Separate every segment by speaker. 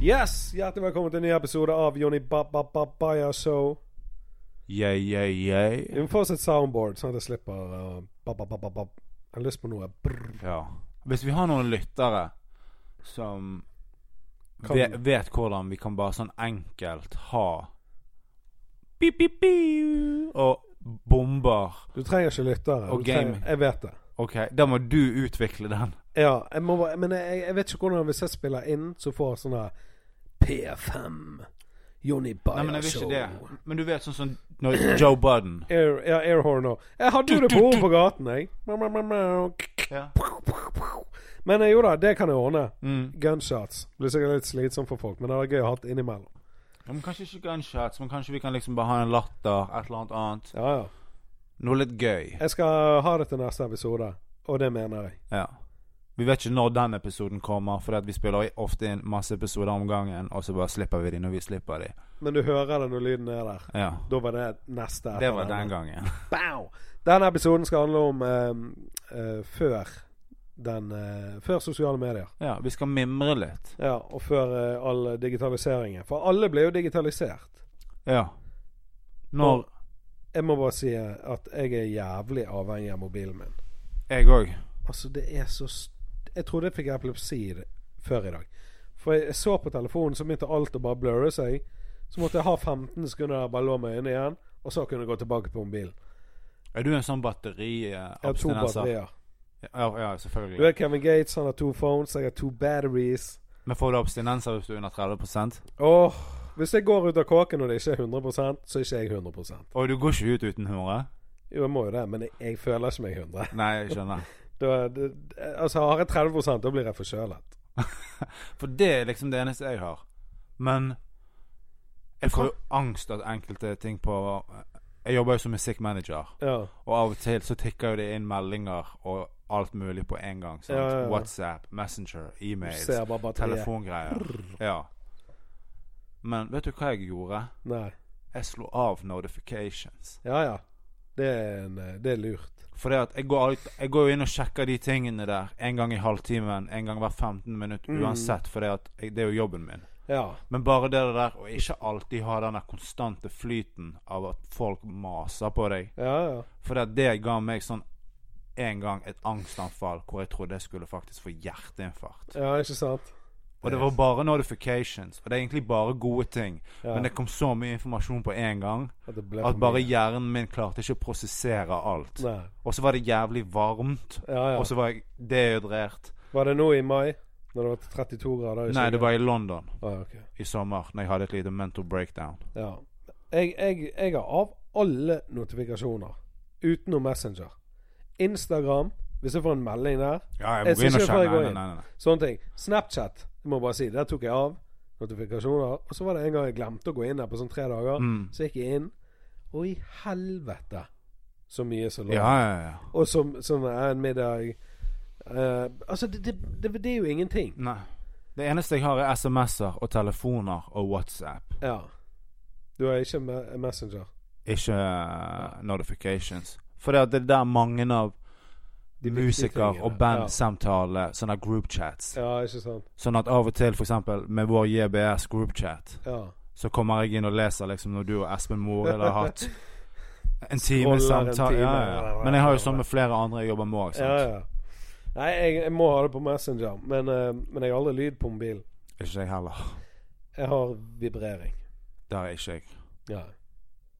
Speaker 1: Yes! Hjertelig velkommen til en ny episode av Johnny Babababaya Show.
Speaker 2: Yeah, yeah, yeah.
Speaker 1: Vi må få oss et soundboard, sånn at jeg slipper uh, bababababab. Jeg har lyst på noe brrr.
Speaker 2: Ja. Hvis vi har noen lyttere som
Speaker 1: Kan-
Speaker 2: ve- vet hvordan vi kan bare sånn enkelt ha pip, pip, piu, og bomber
Speaker 1: Du trenger ikke lyttere.
Speaker 2: Og
Speaker 1: du trenger,
Speaker 2: gaming.
Speaker 1: jeg vet det.
Speaker 2: OK, da må du utvikle den.
Speaker 1: Ja, jeg må, bare- men jeg, jeg vet ikke hvordan hvis jeg spiller inn, så får jeg sånn her PFM. Johnny Bayer
Speaker 2: Nei, men jeg vil
Speaker 1: Show.
Speaker 2: ikke det. Men du vet sånn som når Joe Budden
Speaker 1: Air, ja, airhorn òg. Jeg hadde jo det på ordet på gaten, jeg. Mau, mau, mau, mau.
Speaker 2: ja.
Speaker 1: Men eh, jo da, det kan jeg ordne.
Speaker 2: mm.
Speaker 1: Gunshots. Blir sikkert litt slitsomt for folk, men det er gøy å ha det innimellom.
Speaker 2: Ja, Men kanskje ikke gunshots, men kanskje vi kan liksom bare ha en latter, et eller annet annet.
Speaker 1: Ja, ja.
Speaker 2: Noe litt gøy.
Speaker 1: Jeg skal ha det til neste episode, og det mener jeg.
Speaker 2: Ja. Vi vet ikke når den episoden kommer, for vi spiller ofte inn masse episoder om gangen, og så bare slipper vi de når vi slipper de.
Speaker 1: Men du hører det når lyden er der.
Speaker 2: Ja.
Speaker 1: Da var det neste. etter
Speaker 2: Det var
Speaker 1: denne.
Speaker 2: den gangen.
Speaker 1: Bow! Denne episoden skal handle om eh, eh, før den eh, Før sosiale medier.
Speaker 2: Ja, vi skal mimre litt.
Speaker 1: Ja, og før eh, all digitaliseringen. For alle ble jo digitalisert.
Speaker 2: Ja. Når
Speaker 1: Jeg må bare si eh, at jeg er jævlig avhengig av mobilen min.
Speaker 2: Jeg òg.
Speaker 1: Altså, det er så st Jeg trodde jeg fikk epilepsi i det- før i dag. For jeg jeg så på telefonen, så begynte alt å bare blurre seg. Så måtte jeg ha 15 sekunder der jeg bare lå med øynene igjen, og så kunne jeg gå tilbake på mobilen.
Speaker 2: Er du en sånn
Speaker 1: Jeg har to
Speaker 2: batteriabstinenser?
Speaker 1: batterier.
Speaker 2: Ja, ja,
Speaker 1: Du
Speaker 2: selvfølgelig.
Speaker 1: vet Kevin Gates, han har to phones, jeg har to batteries.
Speaker 2: Men får du abstinenser hvis du er under 30
Speaker 1: Åh, Hvis jeg går ut av kåken og det ikke er 100 så er ikke jeg 100
Speaker 2: Og du går ikke ut uten hore?
Speaker 1: Jo, jeg må jo det, men jeg, jeg føler ikke meg 100
Speaker 2: Nei, jeg skjønner.
Speaker 1: da, det, Altså, Har jeg 30 da blir jeg forkjølet.
Speaker 2: For det er liksom det eneste jeg har. Men jeg får jo angst av enkelte ting på eh, Jeg jobber jo som musikkmanager.
Speaker 1: Ja.
Speaker 2: Og av og til så tikker jo det inn meldinger og alt mulig på en gang. Sant?
Speaker 1: Ja, ja, ja.
Speaker 2: WhatsApp, Messenger,
Speaker 1: Du
Speaker 2: e-mails,
Speaker 1: ser bare batteriet.
Speaker 2: telefongreier. Ja. Men vet du hva jeg gjorde?
Speaker 1: Nei.
Speaker 2: Jeg slo av notifications.
Speaker 1: Ja ja. Det er, en, eh, det er lurt.
Speaker 2: For det at jeg går, alt, jeg går jo inn og sjekker de tingene der en gang i halvtimen, en gang hver 15 minutt,
Speaker 1: Mm.
Speaker 2: uansett. For det, at jeg, det er jo jobben min.
Speaker 1: Ja.
Speaker 2: Men bare det der å ikke alltid ha den der konstante flyten av at folk maser på deg
Speaker 1: Ja, ja.
Speaker 2: For det, det ga meg sånn en gang et angstanfall hvor jeg trodde jeg skulle faktisk få hjerteinfarkt.
Speaker 1: ja ikke sant?
Speaker 2: Og det var bare notifications, og det er egentlig bare gode ting.
Speaker 1: Ja,
Speaker 2: Men det kom så mye informasjon på en gang
Speaker 1: at det ble
Speaker 2: at
Speaker 1: for
Speaker 2: bare
Speaker 1: mye.
Speaker 2: hjernen min klarte ikke å prosessere alt.
Speaker 1: Nei.
Speaker 2: Og så var det jævlig varmt,
Speaker 1: Ja, ja.
Speaker 2: og så var jeg dehydrert.
Speaker 1: Var det nå i mai? Når det var 32 grader?
Speaker 2: Nei, det var i London
Speaker 1: ah, ok.
Speaker 2: i sommer når jeg hadde et lite mental breakdown.
Speaker 1: Ja. Jeg, jeg, jeg har av alle notifikasjoner, utenom Messenger. Instagram, hvis jeg får en melding der.
Speaker 2: Ja,
Speaker 1: Jeg
Speaker 2: jeg må gå inn
Speaker 1: synes
Speaker 2: og
Speaker 1: ikke jeg får
Speaker 2: sjekke.
Speaker 1: gå
Speaker 2: Nei,
Speaker 1: inn.
Speaker 2: nei, nei, nei.
Speaker 1: Sånne ting. Snapchat, jeg må bare si. Der tok jeg av notifikasjoner. Og så var det en gang jeg glemte å gå inn der på sånn tre dager.
Speaker 2: Mm.
Speaker 1: Så gikk jeg inn, og i helvete så mye som lå
Speaker 2: Ja, ja, ja.
Speaker 1: Og som, som er en middag eh, Altså, det, det, det, det er jo ingenting.
Speaker 2: Nei. Det eneste jeg har, er SMS-er og telefoner og WhatsApp.
Speaker 1: Ja. Du er ikke me Messenger.
Speaker 2: ikke eh, notifications. For det, at det er der mange av
Speaker 1: De viktige
Speaker 2: musiker-
Speaker 1: tingene,
Speaker 2: og bandsamtaler, sånne groupchats.
Speaker 1: Ja, ikke sant.
Speaker 2: Sånn at av og til, for eksempel med vår JBS groupchat,
Speaker 1: Ja.
Speaker 2: så kommer jeg inn og leser liksom når du og Espen Morild har hatt en time
Speaker 1: Scroller en
Speaker 2: samtale. Ja,
Speaker 1: time.
Speaker 2: ja. Men jeg har jo sånn med flere andre jeg jobber med òg.
Speaker 1: ja, ja. Nei, jeg, jeg må ha det på Messenger, men, eh, men jeg har aldri lyd på mobilen.
Speaker 2: Ikke jeg heller.
Speaker 1: Jeg har vibrering.
Speaker 2: Der er ikke jeg.
Speaker 1: Ja.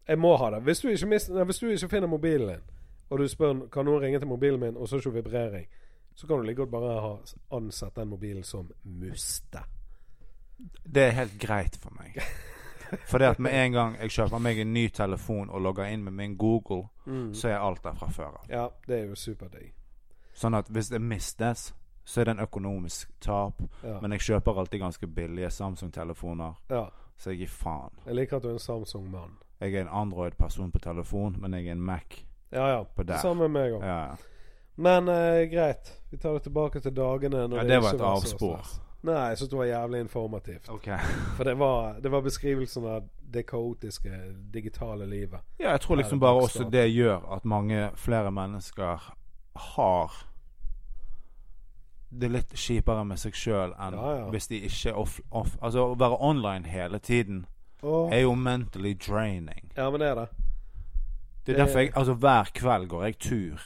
Speaker 1: Jeg må ha det. Hvis du ikke, mis- nei, hvis du ikke finner mobilen din, og du spør kan noen ringe til mobilen min, og så er det ikke vibrering, så kan du like godt bare ha ansett den mobilen som muste.
Speaker 2: Det er helt greit for meg. For det at med en gang jeg kjøper meg en ny telefon og logger inn med min Google,
Speaker 1: Mm.
Speaker 2: så er alt der fra før av.
Speaker 1: Ja, det er jo superdigg.
Speaker 2: Sånn at hvis det mistes, så er det en økonomisk tap.
Speaker 1: Ja.
Speaker 2: Men jeg kjøper alltid ganske billige Samsung-telefoner,
Speaker 1: ja.
Speaker 2: så jeg gir faen.
Speaker 1: Jeg liker at du er en Samsung-mann.
Speaker 2: Jeg er en Android-person på telefon, men jeg er en Mac.
Speaker 1: Ja, ja.
Speaker 2: På der.
Speaker 1: Det samme med meg òg.
Speaker 2: Ja, ja.
Speaker 1: Men eh, greit. Vi tar det tilbake til dagene. Når
Speaker 2: Ja, det var
Speaker 1: ikke
Speaker 2: et
Speaker 1: så
Speaker 2: avspor.
Speaker 1: stress. Nei, jeg syns det var jævlig informativt.
Speaker 2: Ok.
Speaker 1: For det var, det var beskrivelsen av det kaotiske digitale livet.
Speaker 2: Ja, jeg tror liksom bare også det gjør at mange flere mennesker har det er litt kjipere med seg sjøl enn
Speaker 1: Ja, ja.
Speaker 2: hvis de ikke er off, off Altså å være online hele tiden
Speaker 1: Åh.
Speaker 2: er jo mentally draining.
Speaker 1: Ja, men det er det.
Speaker 2: Det
Speaker 1: Det-
Speaker 2: er derfor jeg Altså hver kveld går jeg tur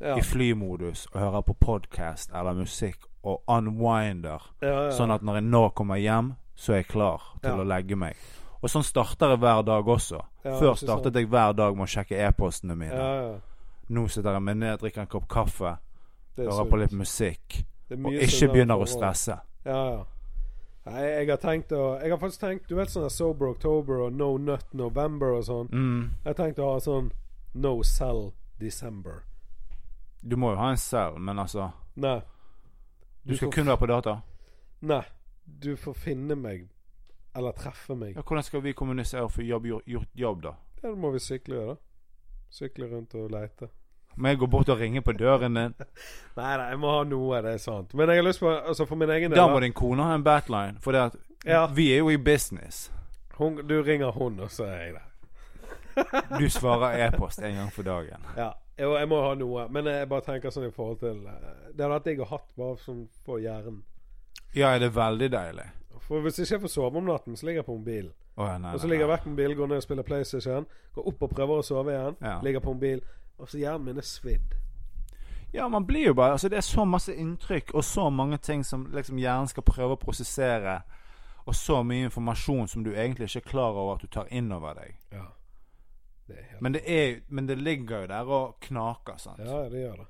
Speaker 1: Ja.
Speaker 2: i flymodus og hører på podkast eller musikk og unwinder.
Speaker 1: Ja, ja.
Speaker 2: Sånn at når jeg nå kommer hjem, så er jeg klar til
Speaker 1: Ja.
Speaker 2: å legge meg. Og sånn starter jeg hver dag også.
Speaker 1: Ja,
Speaker 2: Før
Speaker 1: ikke
Speaker 2: startet jeg hver dag med å sjekke e-postene mine.
Speaker 1: ja, ja.
Speaker 2: Nå sitter jeg meg ned, drikker en kopp kaffe,
Speaker 1: Det er
Speaker 2: hører
Speaker 1: sunt.
Speaker 2: på litt musikk.
Speaker 1: Det er
Speaker 2: Og
Speaker 1: mye
Speaker 2: ikke
Speaker 1: sunnere
Speaker 2: begynner å
Speaker 1: forhold.
Speaker 2: stresse.
Speaker 1: Ja, ja. Nei, jeg har tenkt å Jeg har faktisk tenkt Du vet sånn der Sober October og No Nut November og sånn.
Speaker 2: Mm.
Speaker 1: Jeg har tenkt å ha sånn No Sell December.
Speaker 2: Du må jo ha en selv, men altså
Speaker 1: Nei.
Speaker 2: Du skal
Speaker 1: får-
Speaker 2: kun være på data.
Speaker 1: Nei. Du får finne meg. Eller treffe meg.
Speaker 2: Ja, hvordan skal vi kommunisere for jobb, gjort, gjort jobb, da?
Speaker 1: Ja, da må vi sykle, ja, da. Sykle rundt og leite.
Speaker 2: Må jeg gå bort og ringe på døren din?
Speaker 1: Nei, nei, jeg må ha noe, det er sant. Men jeg har lyst på Altså, for min egen del
Speaker 2: Da må din kone ha en battline, for det at
Speaker 1: Ja.
Speaker 2: vi er jo i business.
Speaker 1: hun, Du ringer hun, og så er jeg der.
Speaker 2: Du svarer e-post en gang for dagen.
Speaker 1: Ja. Jo, jeg må ha noe. Men jeg bare tenker sånn i forhold til eh, Det hadde vært digg å hatt bare sånn på hjernen.
Speaker 2: Ja, det er veldig deilig.
Speaker 1: For hvis ikke jeg får sove om natten, så ligger jeg på mobilen.
Speaker 2: Å, ja, nei,
Speaker 1: Og så
Speaker 2: nei,
Speaker 1: ligger jeg
Speaker 2: nei.
Speaker 1: vekk på mobilen, går ned og spiller PlayStation. Går opp og prøver å sove igjen.
Speaker 2: Ja.
Speaker 1: Ligger på mobilen. Og så hjernen min er svidd.
Speaker 2: Ja, man blir jo bare Altså, det er så masse inntrykk og så mange ting som liksom hjernen skal prøve å prosessere, og så mye informasjon som du egentlig ikke er klar over at du tar inn over deg.
Speaker 1: Ja. Det er helt
Speaker 2: Men det, er, men det ligger jo der og knaker, sant.
Speaker 1: Ja, det gjør det.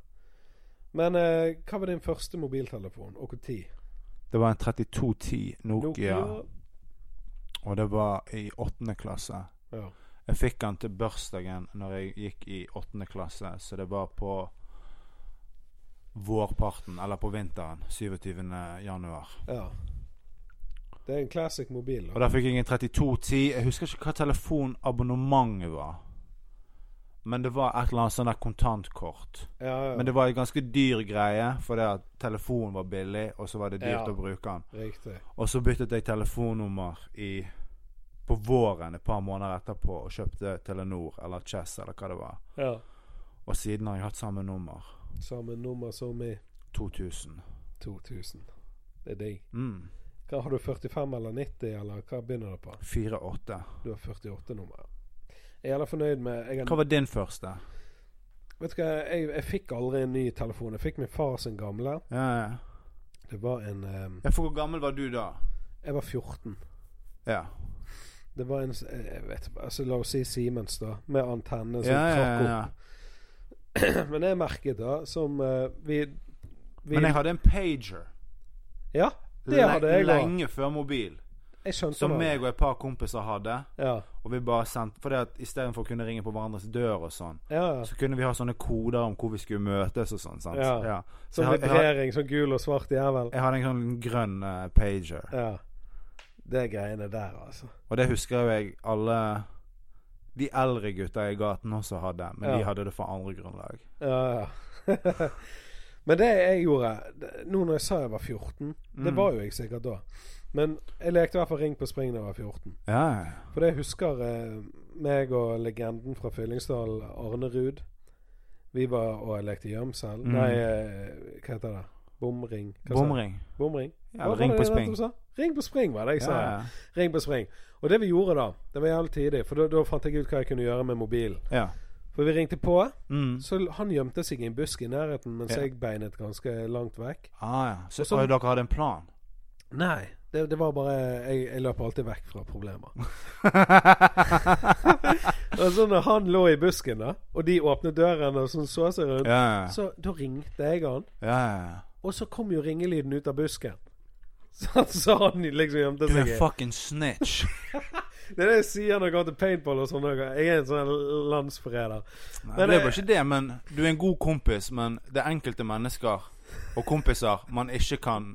Speaker 1: Men eh, hva var din første mobiltelefon, og når?
Speaker 2: Det var en 3210 Nokia, og det var i åttende klasse.
Speaker 1: Ja.
Speaker 2: Jeg fikk den til bursdagen når jeg gikk i åttende klasse, så det var på vårparten, eller på vinteren, 27. januar.
Speaker 1: ja. Det er en classic mobil.
Speaker 2: Og
Speaker 1: Da.
Speaker 2: da fikk jeg en 3210. Jeg husker ikke hva telefonabonnementet var. Men det var et eller annet sånn der kontantkort.
Speaker 1: Ja, ja.
Speaker 2: Men det var en ganske dyr greie, for det at telefonen var billig, og så var det dyrt
Speaker 1: Ja.
Speaker 2: å bruke den.
Speaker 1: Riktig.
Speaker 2: Og så byttet jeg telefonnummer i på våren et par måneder etterpå og kjøpte Telenor eller Chess eller hva det var.
Speaker 1: Ja.
Speaker 2: Og siden har jeg hatt samme nummer.
Speaker 1: Samme nummer som i
Speaker 2: 2000.
Speaker 1: 2000. Det er digg.
Speaker 2: Mm.
Speaker 1: Hva Har du 45 eller 90, eller hva begynner det på?
Speaker 2: 48.
Speaker 1: Du har 48-nummer. Jeg er jævla fornøyd med jeg
Speaker 2: Hva
Speaker 1: har,
Speaker 2: var din første?
Speaker 1: Vet du hva, jeg, jeg fikk aldri en ny telefon. Jeg fikk min far sin gamle.
Speaker 2: Ja, ja.
Speaker 1: Det var en eh,
Speaker 2: ja, for hvor gammel var du da?
Speaker 1: Jeg var 14.
Speaker 2: Ja.
Speaker 1: Det var en s- eh, jeg vet, altså La oss si Siemens, da. Med antenne som
Speaker 2: ja, ja,
Speaker 1: Altså, trakk
Speaker 2: ja,
Speaker 1: opp.
Speaker 2: ja.
Speaker 1: Men jeg merket da, som eh, vi, vi
Speaker 2: Men jeg hadde en pager
Speaker 1: Ja, det hadde jeg òg.
Speaker 2: lenge før mobil.
Speaker 1: Jeg skjønte
Speaker 2: Som
Speaker 1: det.
Speaker 2: meg og et par kompiser hadde.
Speaker 1: Ja,
Speaker 2: Og vi bare sendte For det at istedenfor å kunne ringe på hverandres dør og sånn,
Speaker 1: ja. ja.
Speaker 2: så kunne vi ha sånne koder om hvor vi skulle møtes og sånn. sant?
Speaker 1: Ja.
Speaker 2: Så
Speaker 1: Sånn
Speaker 2: jeg, had- jeg, had-
Speaker 1: vibrering, sånn gul og svart jævel.
Speaker 2: jeg hadde en sånn grønn eh, pager.
Speaker 1: Ja. Det er greiene der, altså.
Speaker 2: Og det husker jo jeg alle de eldre gutta i gaten også hadde, men
Speaker 1: Ja.
Speaker 2: de hadde det for andre grunnlag.
Speaker 1: Ja, ja. Men det jeg gjorde det- Nå når jeg sa jeg var 14 Det
Speaker 2: Mm.
Speaker 1: var jo jeg sikkert da. Men jeg lekte i hvert fall Ring på spring da jeg var 14.
Speaker 2: Ja,
Speaker 1: For det jeg husker eh, meg og legenden fra Fyllingsdalen, Arne Ruud. Vi var og jeg lekte gjemsel.
Speaker 2: Mm.
Speaker 1: Nei, eh, hva heter det? Bomring. Hva sa jeg?
Speaker 2: Bomring.
Speaker 1: Bomring.
Speaker 2: Ja,
Speaker 1: Hva var
Speaker 2: ring
Speaker 1: det
Speaker 2: på
Speaker 1: det
Speaker 2: spring.
Speaker 1: du sa? Ring på spring, var det jeg sa.
Speaker 2: Ja, ja.
Speaker 1: Ring på spring. Og det vi gjorde da, det var jævlig tidlig, for da, da fant jeg ut hva jeg kunne gjøre med mobilen.
Speaker 2: ja.
Speaker 1: For vi ringte på,
Speaker 2: Mm.
Speaker 1: så l- han gjemte seg i en busk i nærheten mens
Speaker 2: Ja.
Speaker 1: jeg beinet ganske langt vekk.
Speaker 2: Ah, ja. Så,
Speaker 1: Og så-
Speaker 2: og dere hadde en plan?
Speaker 1: Nei. Det, det var bare jeg, jeg løp alltid vekk fra problemer. og så når han lå i busken, da, og de åpnet døren og sånn så seg rundt,
Speaker 2: Ja, ja.
Speaker 1: så da ringte jeg han.
Speaker 2: ja, ja.
Speaker 1: Og så kom jo ringelyden ut av busken. Så, så han liksom gjemte
Speaker 2: Du
Speaker 1: seg
Speaker 2: er
Speaker 1: i.
Speaker 2: fucking snitch.
Speaker 1: Det er det jeg sier når jeg går til paintball og sånn. Jeg er en sånn landsforræder.
Speaker 2: Nei,
Speaker 1: Men
Speaker 2: det
Speaker 1: det-
Speaker 2: var ikke det, men du er en god kompis, men det er enkelte mennesker og kompiser man ikke kan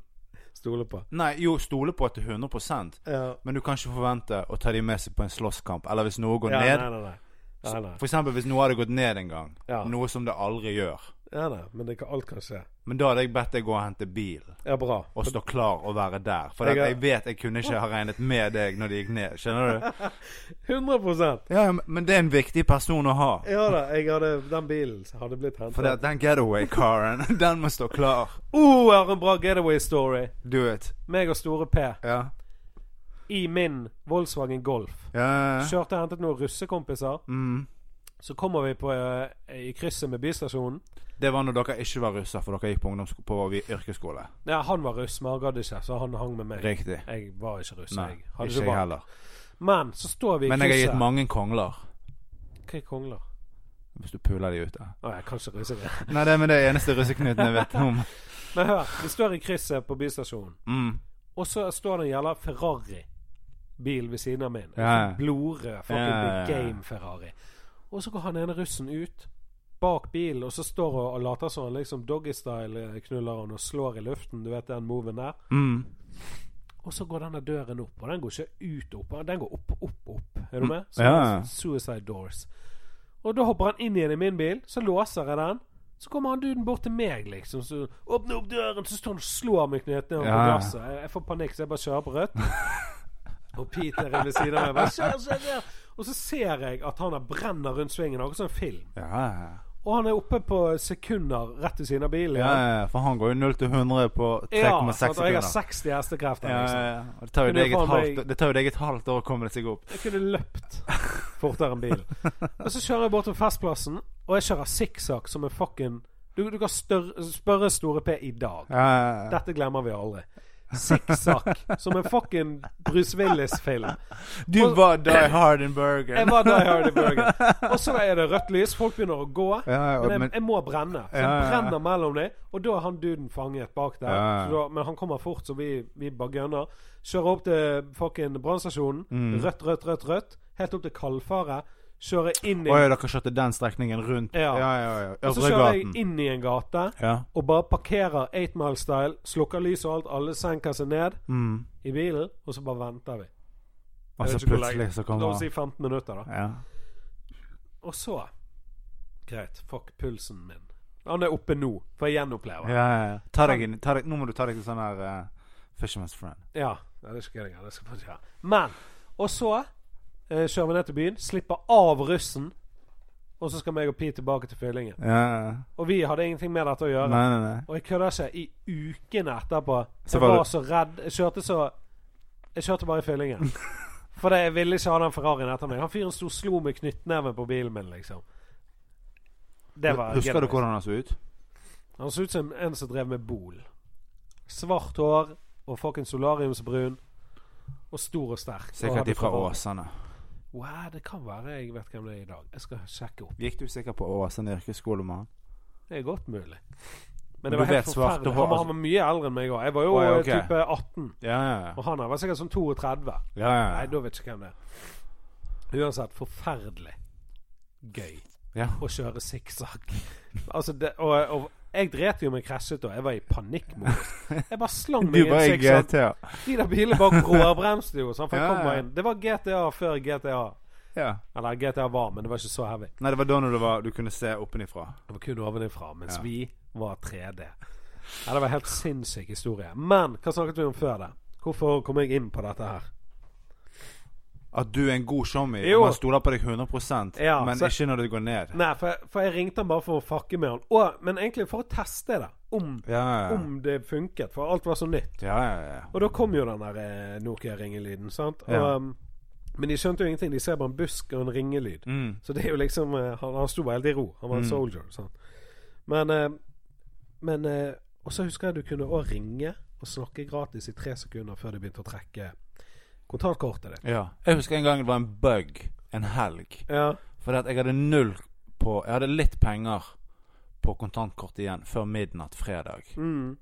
Speaker 1: Stole på.
Speaker 2: Nei, jo, stole på til 100
Speaker 1: Ja.
Speaker 2: men du kan ikke forvente å ta de med seg på en slåsskamp, eller hvis noe går
Speaker 1: Ja,
Speaker 2: ned.
Speaker 1: Nei, nei, nei. nei, nei.
Speaker 2: For eksempel hvis noe hadde gått ned en gang,
Speaker 1: Ja.
Speaker 2: noe som det aldri gjør.
Speaker 1: Ja, nei, men det kan, alt kan skje.
Speaker 2: Men da hadde jeg bedt deg gå og hente bil,
Speaker 1: Ja, bra.
Speaker 2: og stå klar og være der. For
Speaker 1: Jeg
Speaker 2: jeg,
Speaker 1: er-
Speaker 2: jeg vet jeg kunne ikke ha regnet med deg når det gikk ned. Skjønner du?
Speaker 1: 100
Speaker 2: Ja, ja, men- men det er en viktig person å ha.
Speaker 1: Ja da, jeg hadde, den bilen hadde blitt hentet.
Speaker 2: For det, den getaway-karen, den må stå klar.
Speaker 1: Oh, jeg har en bra getaway story.
Speaker 2: Do it.
Speaker 1: Meg og Store P
Speaker 2: Ja.
Speaker 1: i min Volkswagen Golf.
Speaker 2: Ja, ja, ja.
Speaker 1: Kjørte og hentet noen russekompiser.
Speaker 2: Mm.
Speaker 1: Så kommer vi på, eh, i krysset med bystasjonen.
Speaker 2: Det var når dere ikke var russer, for dere gikk på, ungdomssko- på vi- yrkesskole.
Speaker 1: Ja, han var russ, men han gadd ikke, så han hang med meg.
Speaker 2: Riktig.
Speaker 1: Jeg var ikke russ.
Speaker 2: Nei,
Speaker 1: jeg. Hadde
Speaker 2: ikke jeg
Speaker 1: valg.
Speaker 2: heller.
Speaker 1: Men så står vi i
Speaker 2: Men jeg har gitt
Speaker 1: krysset.
Speaker 2: mange kongler,
Speaker 1: Hva er kongler?
Speaker 2: hvis du puler de ute.
Speaker 1: Å, jeg kan ikke russe det.
Speaker 2: Nei, det er med det eneste russeknuten jeg vet om.
Speaker 1: Men hør, vi står i krysset på bystasjonen.
Speaker 2: Mm.
Speaker 1: Og så står det en jævla Ferrari-bil ved siden av min.
Speaker 2: Ja, ja.
Speaker 1: Blodrød fucking
Speaker 2: Ja, ja, ja.
Speaker 1: big game Ferrari. Og så går han ene russen ut bak bilen, og så står og, og later som han liksom doggystyle knuller han og slår i luften. Du vet den moven der.
Speaker 2: Mm.
Speaker 1: Og så går denne døren opp, og den går ikke ut opp, den går opp, opp, opp. Er du med? Så
Speaker 2: Mm. Ja.
Speaker 1: Suicide doors. Og da hopper han inn igjen i min bil, så låser jeg den. Så kommer han duden bort til meg, liksom. Så åpner opp døren, så står han og slår meg knøttene på
Speaker 2: Ja.
Speaker 1: glasset. Jeg, jeg får panikk, så jeg bare kjører på rødt. Og Peter er ved siden av meg. Bare, kjør, kjør, kjør. Og så ser jeg at han der brenner rundt svingen, akkurat som en film.
Speaker 2: Ja, ja.
Speaker 1: Og han er oppe på sekunder rett ved siden av bilen.
Speaker 2: ja, ja, ja, for han går jo 0 til 100 på 3,6
Speaker 1: Ja, sant, og jeg har
Speaker 2: sekunder.
Speaker 1: 60 hestekrefter.
Speaker 2: Ja,
Speaker 1: Liksom.
Speaker 2: ja, ja. Og Det tar jo
Speaker 1: Men det
Speaker 2: deg et
Speaker 1: faen meg-
Speaker 2: halvt- det tar jo deg et halvt år å komme seg opp.
Speaker 1: Jeg kunne løpt fortere enn bilen. Og så kjører jeg bort til Festplassen, og jeg kjører sikksakk som en fucking Du, du kan stør, spørre Store P i dag.
Speaker 2: Ja, ja, ja.
Speaker 1: Dette glemmer vi aldri. Sikksakk som en fucking Bruce Willis-film.
Speaker 2: Du var Die Hard in Bergen.
Speaker 1: Jeg var der jeg hørte Bergen. Og så er det rødt lys, folk begynner å gå.
Speaker 2: Ja, ja,
Speaker 1: Men jeg,
Speaker 2: men-
Speaker 1: jeg må brenne. Så
Speaker 2: Ja, ja,
Speaker 1: jeg
Speaker 2: ja.
Speaker 1: brenner mellom dem, og da er han duden fanget bak der.
Speaker 2: Ja, ja.
Speaker 1: Så da, men han kommer fort, så vi, vi bare gunner. Kjører opp til fucking brannstasjonen.
Speaker 2: Mm.
Speaker 1: Rødt, rødt, rødt, rødt. Helt opp til Kalfaret. Kjører inn i
Speaker 2: Å ja, dere kjørte den strekningen rundt
Speaker 1: Ja.
Speaker 2: ja, ja. ja.
Speaker 1: Og så kjører jeg
Speaker 2: Øvregaten.
Speaker 1: inn i en gate
Speaker 2: Ja.
Speaker 1: og bare parkerer 8 Mile Style. Slukker lys og alt, alle senker seg ned
Speaker 2: Mm.
Speaker 1: i bilen, og så bare venter vi. Jeg
Speaker 2: Og så
Speaker 1: vet ikke hvor lenge.
Speaker 2: plutselig så
Speaker 1: La
Speaker 2: kommer
Speaker 1: oss si 15 minutter, da.
Speaker 2: ja.
Speaker 1: Og så Greit, fuck pulsen min. Han er oppe nå, for jeg
Speaker 2: Ja,
Speaker 1: gjenopplever. Ja.
Speaker 2: ja, ja. Ta deg inn, ta deg, nå må du ta deg til sånn her eh, Fisherman's Friend.
Speaker 1: ja. Nei, det skal jeg ikke gjøre. Det skal jeg bare ikke gjøre. Men Og så eh, kjører vi ned til byen, slipper av russen, og så skal meg og Pi tilbake til fyllingen.
Speaker 2: Ja, ja.
Speaker 1: Og vi hadde ingenting med dette å
Speaker 2: ja.
Speaker 1: gjøre.
Speaker 2: Nei, nei, nei.
Speaker 1: Og jeg kødder ikke. I ukene etterpå
Speaker 2: Så
Speaker 1: Jeg
Speaker 2: var
Speaker 1: var,
Speaker 2: du-
Speaker 1: så redd. Jeg kjørte så Jeg kjørte bare i fyllingen. For jeg ville ikke ha den Ferrarien etter meg. Han fyren sto og slo med knyttneven på bilen min, liksom. Det var
Speaker 2: Husker du hvordan han så ut?
Speaker 1: Han så ut som en som drev med bol. Svart hår og fucking solariumsbrun. Og stor og sterk. Og
Speaker 2: Sikkert
Speaker 1: hadde
Speaker 2: ifra
Speaker 1: Ferrari.
Speaker 2: Åsane.
Speaker 1: Wow, det kan være jeg vet hvem det er i dag. Jeg skal sjekke opp.
Speaker 2: Gikk du sikkert på Åsane yrkesskole med han?
Speaker 1: Det er godt mulig. Men det
Speaker 2: Men du
Speaker 1: var helt
Speaker 2: vet svarte
Speaker 1: forferdelig.
Speaker 2: hår-
Speaker 1: Han var- han var mye eldre enn meg òg. Jeg var jo
Speaker 2: Oi,
Speaker 1: eh,
Speaker 2: ok.
Speaker 1: type 18.
Speaker 2: Ja, ja,
Speaker 1: Og han her var sikkert sånn 32.
Speaker 2: ja. ja, ja.
Speaker 1: Nei, da vet jeg ikke hvem det er. Uansett, forferdelig gøy
Speaker 2: ja.
Speaker 1: å kjøre sikksakk. Altså, det- og, og jeg dret jo om jeg krasjet da. Jeg var i panikkmodus. Jeg bare slang
Speaker 2: Du
Speaker 1: meg i
Speaker 2: var i eh,
Speaker 1: en sikksakk.
Speaker 2: GTA.
Speaker 1: De der bilene bak råbremste jo. Sånn, for jeg
Speaker 2: Ja,
Speaker 1: kom
Speaker 2: ja.
Speaker 1: meg inn. Det var GTA før GTA.
Speaker 2: Ja.
Speaker 1: Eller GTA var, men det var ikke så heavy.
Speaker 2: Nei, det var da når du, var, du kunne se oppenifra.
Speaker 1: Det var kun ovenifra, mens
Speaker 2: Ja.
Speaker 1: vi var 3D. Ja, det var helt sinnssyk historie. Men hva snakket vi om før det? Hvorfor kom jeg inn på dette her?
Speaker 2: At du er en god showmy.
Speaker 1: Jo.
Speaker 2: Man stoler på deg 100
Speaker 1: Ja,
Speaker 2: men
Speaker 1: så-
Speaker 2: ikke når du går ned.
Speaker 1: Nei, for jeg, for jeg ringte han bare for å fucke med han. Og, men egentlig for å teste det. Om,
Speaker 2: Ja, ja, ja.
Speaker 1: om det funket, for alt var så nytt.
Speaker 2: ja, ja, ja.
Speaker 1: Og da kom jo den der eh, Nokia-ringelyden, sant. Og,
Speaker 2: Ja.
Speaker 1: um, men de skjønte jo ingenting. De ser bare en busk og en ringelyd.
Speaker 2: Mm.
Speaker 1: Så det er jo liksom eh, Han, han sto veldig i ro. Han var en
Speaker 2: Mm.
Speaker 1: soldier. Sant? Men eh, Men eh, Og så husker jeg du kunne òg ringe og snakke gratis i tre sekunder før de begynte å trekke kontantkortet ditt.
Speaker 2: ja. Jeg husker en gang det var en bug en helg.
Speaker 1: Ja.
Speaker 2: Fordi at jeg hadde null på Jeg hadde litt penger på kontantkort igjen før midnatt fredag.
Speaker 1: Mm.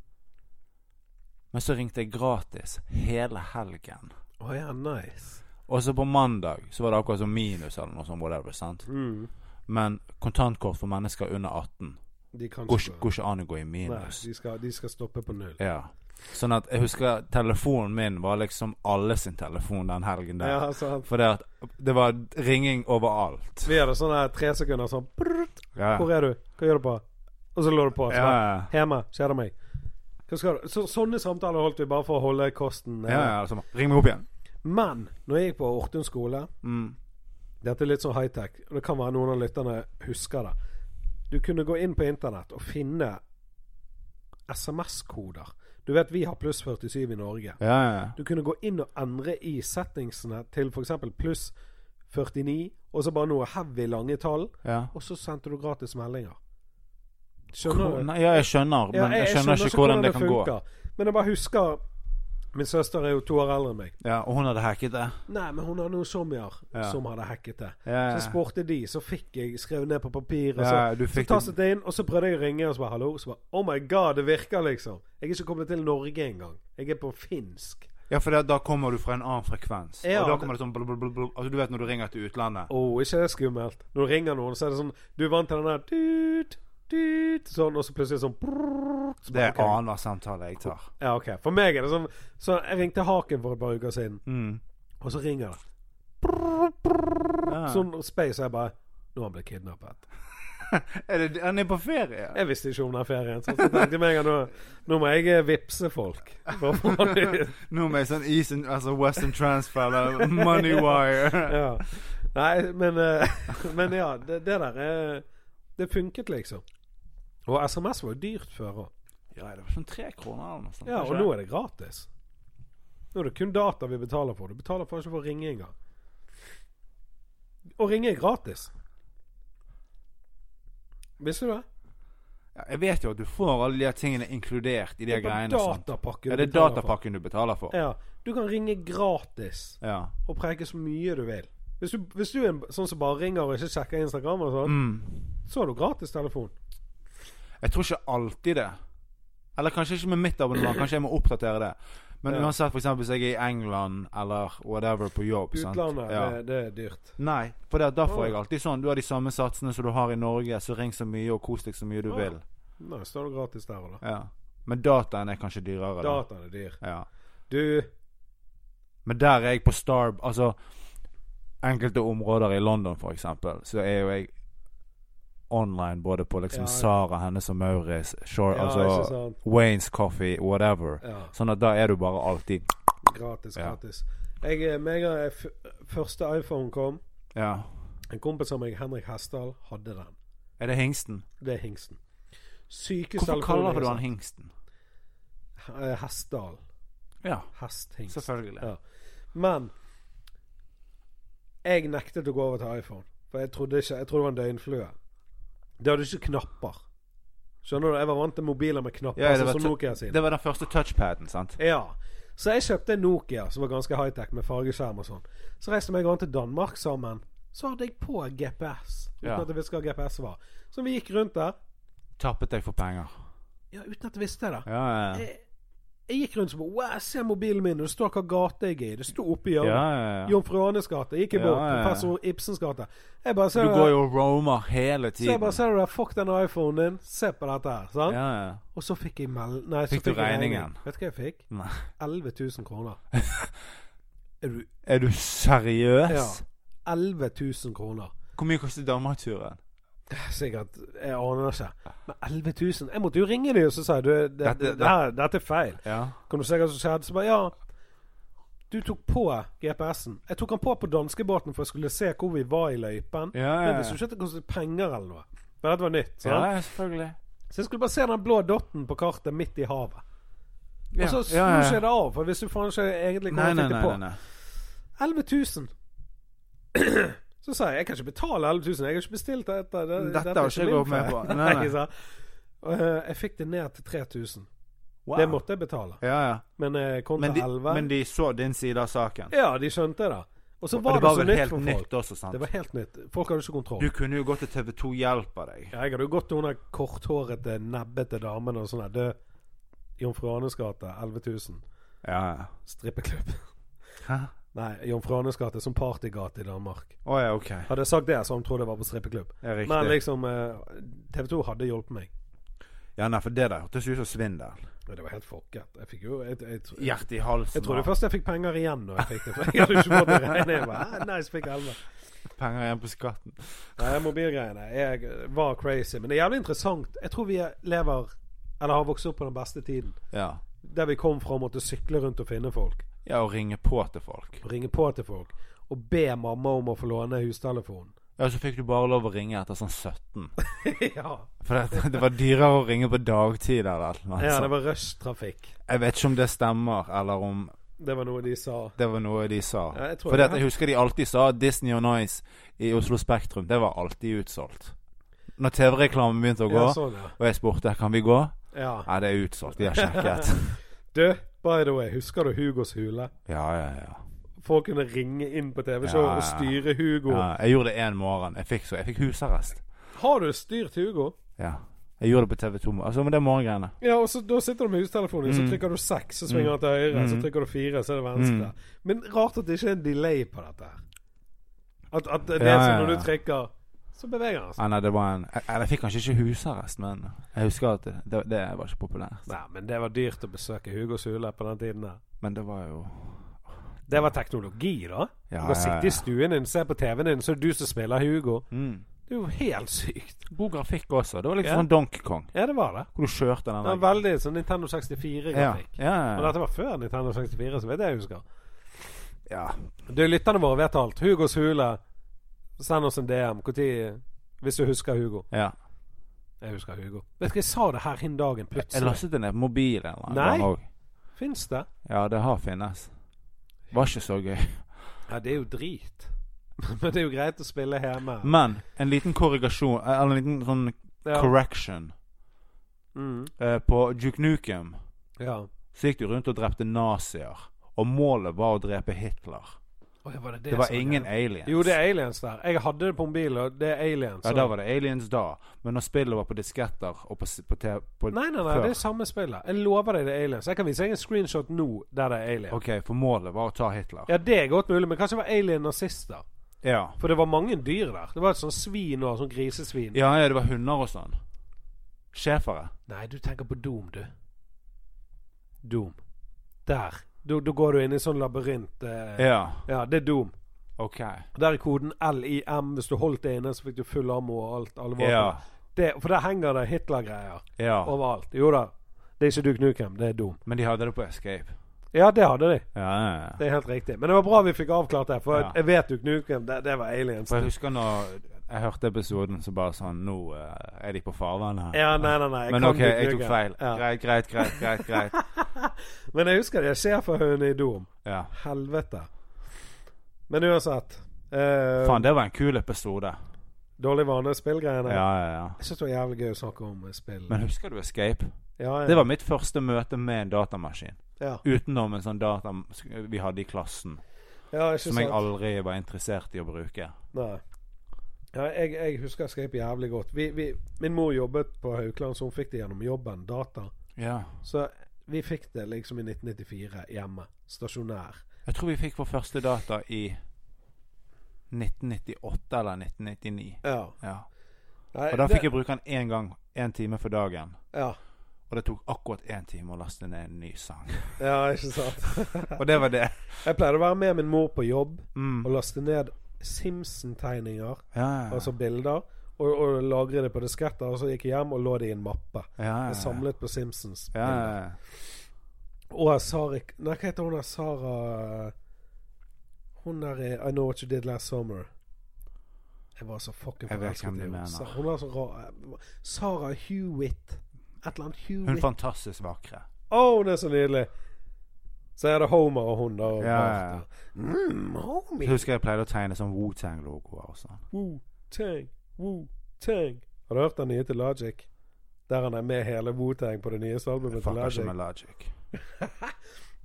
Speaker 2: Men så ringte jeg gratis hele helgen.
Speaker 1: Å ja, nice.
Speaker 2: Og så på mandag så var det akkurat som minus eller noe sånt. Whatever, sant?
Speaker 1: Mm.
Speaker 2: Men kontantkort for mennesker under 18
Speaker 1: De kan
Speaker 2: går ikke,
Speaker 1: gå-
Speaker 2: går ikke an å gå i
Speaker 1: Nei,
Speaker 2: minus.
Speaker 1: de skal, de skal stoppe på null.
Speaker 2: Ja. Sånn at jeg husker telefonen min var liksom alle sin telefon den helgen der.
Speaker 1: Ja, altså, sant.
Speaker 2: For det, at, det var ringing overalt.
Speaker 1: Vi hadde sånne her tre sekunder sånn brrrt,
Speaker 2: Ja.
Speaker 1: Hvor er du? Hva gjør du på? Og så lå det på. Så,
Speaker 2: Ja, ja, ja.
Speaker 1: Hjemme. Kjeder meg. Hva skal du? Så, sånne samtaler holdt vi bare for å holde kosten eh.
Speaker 2: Ja, ja, altså, Ring meg opp igjen.
Speaker 1: Men når jeg gikk på Ortun skole
Speaker 2: Mm.
Speaker 1: Dette er litt sånn high-tech, og det kan være noen av lytterne husker det. Du kunne gå inn på internett og finne SMS-koder. Du vet vi har pluss 47 i Norge.
Speaker 2: Ja, ja, ja.
Speaker 1: Du kunne gå inn og endre i settingsene til f.eks. pluss 49, og så bare noe heavy lange tall,
Speaker 2: ja.
Speaker 1: og så sendte du gratis meldinger.
Speaker 2: Hvor-
Speaker 1: Skjønner du?
Speaker 2: Nei, ja, jeg skjønner, men
Speaker 1: Ja,
Speaker 2: jeg, skjønner ikke hvordan det kan gå.
Speaker 1: funker. Men jeg bare husker Min søster er jo to år eldre enn meg.
Speaker 2: Ja, Og hun hadde hacket det.
Speaker 1: Nei, men hun har noen sommier
Speaker 2: Ja.
Speaker 1: som hadde hacket det.
Speaker 2: Ja, ja.
Speaker 1: Så jeg spurte de, så fikk jeg skrevet ned på papir. Og så,
Speaker 2: Ja, du
Speaker 1: så
Speaker 2: fikk
Speaker 1: tastet jeg inn, og så prøvde jeg å ringe, og så bare hallo. Så bare oh my god, det virker, liksom. Jeg er ikke kommet til Norge engang. Jeg er på finsk.
Speaker 2: Ja, for da- da kommer du fra en annen frekvens.
Speaker 1: Ja,
Speaker 2: og da
Speaker 1: det-
Speaker 2: kommer det sånn blub, blub, blub, blub. Altså, Du vet når du ringer til utlandet.
Speaker 1: Å, ikke det skummelt? Når du ringer noen, så er det sånn Du er vant til den der tut, tut, sånn, og så plutselig sånn brrrr, så
Speaker 2: Det er
Speaker 1: bare, ok.
Speaker 2: annenhver samtale jeg tar.
Speaker 1: Ja, OK. For meg er det sånn Så jeg ringte Haken for et par uker siden,
Speaker 2: Mm.
Speaker 1: og så ringer det.
Speaker 2: Ja.
Speaker 1: Sånn space, og jeg bare Nå har han blitt kidnappet.
Speaker 2: Er det, han er på ferie?
Speaker 1: Jeg visste ikke om den ferien, så jeg tenkte meg at nå, nå må jeg eh, vippse folk. For å få det ut.
Speaker 2: Nå med sånn Eastern, altså Western Transfer eller Money Wire.
Speaker 1: ja. Nei, men, eh, men ja, det, det der eh, Det funket, liksom. Og SMS var jo dyrt før òg.
Speaker 2: Ja, det var sånn tre kroner eller noe sånt.
Speaker 1: Ja, og nå er det gratis. Nå er det kun data vi betaler for. Du betaler faen ikke for å ringe engang. Å ringe er gratis. Visste du det?
Speaker 2: Ja, jeg vet jo at du får alle de her tingene inkludert i de her
Speaker 1: Det er
Speaker 2: greiene.
Speaker 1: bare
Speaker 2: og sånt.
Speaker 1: datapakke
Speaker 2: Ja, det er
Speaker 1: betaler for.
Speaker 2: datapakken du betaler for.
Speaker 1: Ja. Du kan ringe gratis.
Speaker 2: Ja.
Speaker 1: og preike så mye du vil. Hvis du, hvis du er en sånn som bare ringer og ikke sjekker Instagram, og sånn,
Speaker 2: Mm.
Speaker 1: så har du gratis telefon.
Speaker 2: Jeg tror ikke alltid det. Eller kanskje ikke med mitt abonnement, kanskje jeg må oppdatere det. Men
Speaker 1: Ja.
Speaker 2: uansett, for eksempel hvis jeg er i England eller whatever på jobb sant?
Speaker 1: Utlandet, eh,
Speaker 2: Ja.
Speaker 1: det, det er dyrt.
Speaker 2: Nei, for det, da får
Speaker 1: Å.
Speaker 2: jeg alltid sånn. Du har de samme satsene som du har i Norge, så ring så mye og kos deg så mye du
Speaker 1: Å.
Speaker 2: vil.
Speaker 1: Nei, så er det gratis der og da.
Speaker 2: Ja. Men dataen er kanskje dyrere. da.
Speaker 1: Dataen er dyr.
Speaker 2: Ja.
Speaker 1: Du
Speaker 2: Men der er jeg på Starb Altså Enkelte områder i London for eksempel Så er jo jeg Online både på liksom
Speaker 1: Ja.
Speaker 2: Sara, hennes og Maurits Shore,
Speaker 1: Ja, ikke
Speaker 2: altså
Speaker 1: sant.
Speaker 2: Wayne's Coffee, whatever
Speaker 1: Ja,
Speaker 2: Sånn at da er du bare alltid
Speaker 1: gratis,
Speaker 2: Ja.
Speaker 1: gratis. Jeg, eh, meg og jeg f første iPhone kom.
Speaker 2: Ja
Speaker 1: En kompis av meg, Henrik Hessdal, hadde den.
Speaker 2: Er det hengsten?
Speaker 1: Det er hingsten. Sykeste
Speaker 2: Hvorfor
Speaker 1: telefonen
Speaker 2: kaller du
Speaker 1: jeg
Speaker 2: han
Speaker 1: har
Speaker 2: hengsten?
Speaker 1: sett. Eh, Hessdal.
Speaker 2: Ja,
Speaker 1: Hesthingst.
Speaker 2: selvfølgelig
Speaker 1: Ja. Men jeg nektet å gå over til iPhone. For jeg trodde, ikke, jeg trodde det var en døgnflue. Det hadde ikke knapper. Skjønner du? Jeg var vant til mobiler med knapper,
Speaker 2: Ja, det
Speaker 1: sånn
Speaker 2: var
Speaker 1: som
Speaker 2: to-
Speaker 1: Nokia sin.
Speaker 2: Det var den første touchpaden, sant?
Speaker 1: Ja. Så jeg kjøpte en Nokia som var ganske high-tech, med fargeskjerm og sånn. Så reiste meg an til Danmark sammen. Så hadde jeg på GPS, uten
Speaker 2: Ja.
Speaker 1: at jeg visste hva GPS var. Så vi gikk rundt der,
Speaker 2: Tappet deg for penger
Speaker 1: ja, uten at jeg visste det.
Speaker 2: Ja, ja, ja,
Speaker 1: Jeg, jeg gikk rundt som Wow, se mobilen min, og det står hva gate jeg er i. Det sto oppi
Speaker 2: ja,
Speaker 1: hjørnet.
Speaker 2: ja, ja.
Speaker 1: Jomfru Aanes gate. Gikk i
Speaker 2: Ja,
Speaker 1: båt.
Speaker 2: ja, ja.
Speaker 1: Professor Ibsens gate. Jeg bare ser
Speaker 2: Du går jo og roamer hele
Speaker 1: eh, Så jeg
Speaker 2: tiden
Speaker 1: bare ser du der, fuck den iPhonen din, se på dette her.
Speaker 2: Ja,
Speaker 1: Sant?
Speaker 2: ja
Speaker 1: Og så fikk jeg meld... Nei, så
Speaker 2: Fikk du
Speaker 1: jeg regning.
Speaker 2: regningen?
Speaker 1: Vet du hva jeg fikk?
Speaker 2: Nei.
Speaker 1: 11 000 kroner. er du
Speaker 2: Er du seriøs?
Speaker 1: Ja. 11 000 kroner.
Speaker 2: Hvor mye koster Danmark-turen?
Speaker 1: Sikkert. Jeg aner ikke. Men 11 000 Jeg måtte jo ringe dem og så sa jeg, du, det, det,
Speaker 2: Dette-
Speaker 1: det her, dette er feil.
Speaker 2: Ja.
Speaker 1: Kan du se hva som skjedde? Så bare ja. Du tok på GPS-en. Jeg tok den på på danskebåten for jeg skulle se hvor vi var i løypen.
Speaker 2: Ja, ja,
Speaker 1: Men
Speaker 2: ja.
Speaker 1: hvis du ikke at det kostet penger eller noe. Men dette var nytt. sant?
Speaker 2: ja, selvfølgelig.
Speaker 1: Så jeg skulle bare se den blå dotten på kartet midt i havet. Og så snur
Speaker 2: ja, ja.
Speaker 1: ikke det av, for hvis du faen ikke egentlig
Speaker 2: Nei,
Speaker 1: kommer
Speaker 2: nei,
Speaker 1: til det
Speaker 2: nei,
Speaker 1: på.
Speaker 2: nei, nei.
Speaker 1: 11 000. Så sa jeg jeg kan ikke betale 11 000. Jeg har ikke bestilt dette. Det,
Speaker 2: Dette har ikke jeg
Speaker 1: min
Speaker 2: gått med
Speaker 1: feil.
Speaker 2: på. Nei, nei.
Speaker 1: jeg sa. Og, eh, jeg fikk det ned til 3000.
Speaker 2: Wow.
Speaker 1: Det måtte jeg betale.
Speaker 2: Ja, ja.
Speaker 1: Men jeg kom
Speaker 2: Men de,
Speaker 1: til 11.
Speaker 2: men de så din side av saken.
Speaker 1: Ja, de skjønte det. Og så
Speaker 2: Og
Speaker 1: var
Speaker 2: det
Speaker 1: det,
Speaker 2: var
Speaker 1: så
Speaker 2: vel
Speaker 1: nytt
Speaker 2: helt
Speaker 1: for folk.
Speaker 2: nytt også, sant?
Speaker 1: Det var helt nytt. Folk hadde ikke kontroll.
Speaker 2: Du kunne jo gått til TV2 Hjelper deg.
Speaker 1: Ja, jeg hadde jo gått til hun der korthårete, nebbete damen og sånn der. Du, Jomfru Anes gate, 11 000.
Speaker 2: Ja, ja.
Speaker 1: Strippeklubb.
Speaker 2: Hæ?
Speaker 1: Nei, Jomfru Anes gate som partygate i Danmark.
Speaker 2: Å ja, ok.
Speaker 1: Hadde jeg sagt det, så hadde hun trodd jeg var på strippeklubb. liksom,
Speaker 2: Det er riktig.
Speaker 1: Men liksom, TV 2 hadde hjulpet meg.
Speaker 2: Ja, nei, for det der hørtes ut som svindel.
Speaker 1: Ja, Det var helt fucket. Jeg fikk jo jeg, jeg, jeg, jeg,
Speaker 2: Hjertet i halsen.
Speaker 1: trodde
Speaker 2: og
Speaker 1: først jeg fikk penger igjen når jeg fikk det. For jeg hadde ikke fått det regnet. Jeg bare, «Hæ? Nei, så fikk jeg 11.
Speaker 2: Penger igjen på skatten.
Speaker 1: Nei, mobilgreiene jeg var crazy. Men det er jævlig interessant. Jeg tror vi lever Eller har vokst opp på den beste tiden.
Speaker 2: Ja.
Speaker 1: Der vi kom fra å måtte sykle rundt og finne folk.
Speaker 2: ja, å ringe på til folk.
Speaker 1: Og ringe på til folk. Og be mamma om å få låne hustelefonen.
Speaker 2: Ja, så fikk du bare lov å ringe etter sånn 17.
Speaker 1: ja.
Speaker 2: For det, det var dyrere å ringe på dagtid eller et eller annet.
Speaker 1: ja, det
Speaker 2: sånt.
Speaker 1: var rushtrafikk.
Speaker 2: Jeg vet ikke om det stemmer, eller om
Speaker 1: Det var noe de sa.
Speaker 2: det var noe de sa.
Speaker 1: Ja, jeg tror
Speaker 2: For
Speaker 1: det.
Speaker 2: det, jeg husker de alltid sa Disney on Ice i Oslo Spektrum. Det var alltid utsolgt. Når TV-reklamen begynte å gå,
Speaker 1: Ja, sånn, ja.
Speaker 2: og jeg spurte kan vi gå,
Speaker 1: ja.
Speaker 2: Nei, det er utsolgt. De har sjekket.
Speaker 1: Du, by the way, husker du Hugos hule?
Speaker 2: Ja, ja, ja.
Speaker 1: Folk kunne ringe inn på TV-show
Speaker 2: Ja, ja, ja.
Speaker 1: og styre Hugo.
Speaker 2: ja jeg gjorde det én morgen. Jeg fikk, så, jeg fikk husarrest.
Speaker 1: Har du styrt Hugo?
Speaker 2: Ja. Jeg gjorde det på TV2. mo- Altså, men det er morgengreiene.
Speaker 1: Ja, og så Da sitter du med hustelefonen,
Speaker 2: Mm.
Speaker 1: din, så trykker du seks, så svinger den til høyre. Så trykker du fire, så er det venstre.
Speaker 2: Mm.
Speaker 1: Men rart at det ikke er en delay på dette. her At, at det
Speaker 2: Ja,
Speaker 1: er
Speaker 2: ja,
Speaker 1: sånn når
Speaker 2: ja.
Speaker 1: du trykker, så beveger han seg.
Speaker 2: Ah, nei, det var en jeg, jeg fikk kanskje ikke husarrest, men jeg husker at det, det, det var ikke populært.
Speaker 1: Nei, men det var dyrt å besøke Hugos hule på den tiden der.
Speaker 2: Men det var jo
Speaker 1: Det var teknologi, da.
Speaker 2: Ja,
Speaker 1: du kan
Speaker 2: ja,
Speaker 1: sitte
Speaker 2: ja.
Speaker 1: i stuen din, se på TV-en din, så er det du som spiller Hugo.
Speaker 2: mm.
Speaker 1: Det er jo helt sykt.
Speaker 2: God grafikk også. Det var liksom
Speaker 1: Ja.
Speaker 2: sånn Donkey Kong.
Speaker 1: Ja, det var det.
Speaker 2: Hvor du kjørte den
Speaker 1: Det var veldig sånn Nintendo 64-grafikk.
Speaker 2: Ja.
Speaker 1: Men
Speaker 2: Ja,
Speaker 1: dette var før Nintendo 64, så vet jeg jeg husker.
Speaker 2: ja.
Speaker 1: Du, lytterne våre vet alt. Hugos hule. Send oss en DM. Hvor tid, hvis du husker Hugo.
Speaker 2: ja. ja.
Speaker 1: Jeg husker Hugo. Vet du hva, jeg sa det her hin dagen
Speaker 2: Jeg
Speaker 1: plutselig.
Speaker 2: lastet det ned på mobilen. en eller
Speaker 1: Nei.
Speaker 2: annen gang også.
Speaker 1: Fins det?
Speaker 2: Ja, det har finnes. Var ikke så gøy.
Speaker 1: Ja, det er jo drit. Men det er jo greit å spille hjemme.
Speaker 2: Men en liten korrigasjon Eller en liten sånn
Speaker 1: Ja.
Speaker 2: correction.
Speaker 1: Mm.
Speaker 2: Eh, på Duke Nukem
Speaker 1: ja.
Speaker 2: så gikk du rundt og drepte nazier. Og målet var å drepe Hitler.
Speaker 1: Oi, var det, det
Speaker 2: Det var
Speaker 1: som
Speaker 2: ingen
Speaker 1: greia?
Speaker 2: aliens.
Speaker 1: Jo, det er aliens der. Jeg hadde det på mobilen, og det er aliens.
Speaker 2: ja,
Speaker 1: så-
Speaker 2: da var det aliens da. Men når spillet var på disketter og på, s- på, te- på
Speaker 1: Nei, nei, nei,
Speaker 2: før
Speaker 1: det er samme spillet. Jeg lover deg det er aliens. Jeg kan vise deg en screenshot nå der det er aliens.
Speaker 2: OK, for målet var å ta Hitler.
Speaker 1: Ja, det er godt mulig, men kanskje det var alien nazister.
Speaker 2: Ja.
Speaker 1: For det var mange dyr der. Det var et sånt svin og sånn grisesvin.
Speaker 2: Ja, ja, det var hunder og sånn. Schæfere.
Speaker 1: Nei, du tenker på Doom, du. Doom. Der. Da da går du inn i sånn labyrint. Eh. Ja.
Speaker 2: Ja.
Speaker 1: det er Doom.
Speaker 2: OK.
Speaker 1: Der er koden LIM. Hvis du holdt det inne, så fikk du full ammo og alt. Alle våpen.
Speaker 2: Ja.
Speaker 1: Det, for der henger det Hitler-greier
Speaker 2: ja.
Speaker 1: overalt. Jo da. Det er ikke Duke Nukem, det er Doom.
Speaker 2: Men de hadde det på Escape.
Speaker 1: Ja, det hadde de.
Speaker 2: Ja, ja, ja.
Speaker 1: Det er helt riktig. Men det var bra vi fikk avklart det, for
Speaker 2: Ja.
Speaker 1: jeg vet Duke Nukem, det, det var aliens.
Speaker 2: For jeg husker når jeg hørte episoden, så bare sånn Nå eh, er de på farvannet. her.
Speaker 1: Ja, nei, nei, nei. Jeg
Speaker 2: Men
Speaker 1: kan
Speaker 2: OK,
Speaker 1: Duke
Speaker 2: jeg tok
Speaker 1: Nukem.
Speaker 2: feil.
Speaker 1: Ja.
Speaker 2: Greit, greit, greit, greit. greit
Speaker 1: Men jeg husker det skjer for høne i Doom.
Speaker 2: Ja.
Speaker 1: Helvete. Men uansett. eh,
Speaker 2: Faen, det var en kul episode.
Speaker 1: Dårlig vane, spillgreiene.
Speaker 2: Ja, ja, ja.
Speaker 1: Jeg syns det var jævlig gøy å snakke om eh, spill.
Speaker 2: Men husker du Escape?
Speaker 1: ja, ja.
Speaker 2: Det var mitt første møte med en datamaskin.
Speaker 1: ja.
Speaker 2: Utenom en sånn data vi hadde i klassen,
Speaker 1: ja, ikke
Speaker 2: som jeg
Speaker 1: sant.
Speaker 2: aldri var interessert i å bruke.
Speaker 1: Nei. Ja, jeg, jeg husker Escape jævlig godt. Vi, vi, min mor jobbet på Haukeland, så hun fikk det gjennom jobben. Data.
Speaker 2: Ja.
Speaker 1: Så vi fikk det liksom i 1994 hjemme. Stasjonær.
Speaker 2: Jeg tror vi fikk vår første data i 1998 eller 1999.
Speaker 1: Ja.
Speaker 2: Ja.
Speaker 1: Nei,
Speaker 2: Og da fikk jeg bruke den én gang, én time for dagen.
Speaker 1: ja.
Speaker 2: Og det tok akkurat én time å laste ned en ny sang.
Speaker 1: ja, ikke sant.
Speaker 2: Og det var det.
Speaker 1: jeg pleide å være med min mor på jobb
Speaker 2: Mm.
Speaker 1: og laste ned Simpson-tegninger,
Speaker 2: Ja, ja,
Speaker 1: altså bilder, og, og lagre det på disketter. Og så gikk jeg hjem og lå det i en mappe.
Speaker 2: ja, ja,
Speaker 1: Jeg samlet på Simpsons.
Speaker 2: ja,
Speaker 1: bilder.
Speaker 2: ja.
Speaker 1: Og Sarik Nei, hva heter hun der Sara Hun der er I Know What You Did Last Summer. Jeg var så fucking
Speaker 2: Jeg vet
Speaker 1: forelsket i
Speaker 2: hvem du
Speaker 1: henne.
Speaker 2: mener.
Speaker 1: Sa- Hun er så rar. Sara Hewitt. Et eller annet
Speaker 2: Hun
Speaker 1: Hewitt. Å,
Speaker 2: fantastisk vakre.
Speaker 1: hun er så nydelig! Så er det Homer og hun, da. og
Speaker 2: Ja, ja,
Speaker 1: Bart,
Speaker 2: ja.
Speaker 1: da. Mm,
Speaker 2: Jeg
Speaker 1: homie.
Speaker 2: husker jeg pleide å tegne sånn Wu-Tang-logoer og sånn.
Speaker 1: Wu-tang, Wu-tang. Har du hørt den nye til Logic? Der han er med hele Wu-tang på det nyeste albumet til
Speaker 2: Fucker
Speaker 1: Logic.
Speaker 2: ikke med Logic.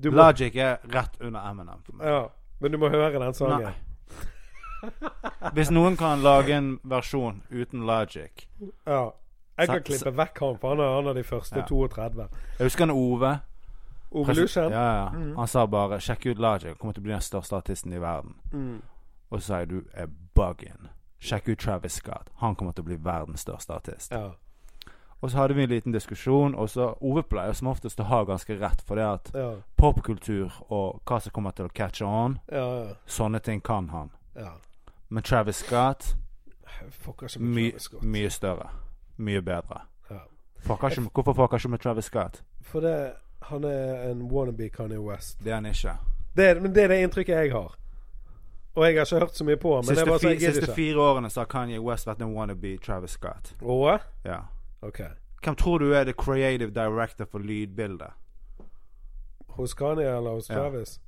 Speaker 1: Du må,
Speaker 2: Logic er rett under Eminem for meg.
Speaker 1: ja, men du må høre den sangen.
Speaker 2: Nei. Hvis noen kan lage en versjon uten Logic
Speaker 1: Ja. Jeg kan
Speaker 2: Så-
Speaker 1: klippe vekk han, for han er han er de første
Speaker 2: Ja.
Speaker 1: 32.
Speaker 2: Jeg husker han Ove.
Speaker 1: Evolution.
Speaker 2: Ja, ja.
Speaker 1: Mm.
Speaker 2: Han sa bare 'sjekk ut Logic, kommer til å bli den største artisten i verden'.
Speaker 1: Mm.
Speaker 2: Og så sa jeg 'du er bugging'. Sjekk ut Travis Scott. Han kommer til å bli verdens største artist.
Speaker 1: Ja.
Speaker 2: Og så hadde vi en liten diskusjon, og så Ove pleier som oftest å ha ganske rett, for det at
Speaker 1: Ja,
Speaker 2: popkultur og hva som kommer til å catche on,
Speaker 1: ja, ja.
Speaker 2: sånne ting kan han.
Speaker 1: ja.
Speaker 2: Men Travis Scott,
Speaker 1: Jeg Fucker ikke med
Speaker 2: my,
Speaker 1: Travis Scott.
Speaker 2: mye større. Mye bedre.
Speaker 1: Ja.
Speaker 2: Fucker ikke, med- hvorfor fucker ikke med Travis Scott?
Speaker 1: For det, han er en wannabe Kanye West.
Speaker 2: Det er han ikke.
Speaker 1: Det er, men det er det inntrykket jeg har. Og jeg har ikke hørt så mye på ham. Men det
Speaker 2: Siste,
Speaker 1: er bare så
Speaker 2: fi,
Speaker 1: jeg gidder
Speaker 2: siste
Speaker 1: ikke.
Speaker 2: fire årene så har Kanye West vært en wannabe Travis Scott.
Speaker 1: Åh?
Speaker 2: Ja.
Speaker 1: Ok.
Speaker 2: Hvem tror du er the creative director for lydbildet?
Speaker 1: Hos Kanye eller hos
Speaker 2: Ja.
Speaker 1: Travis?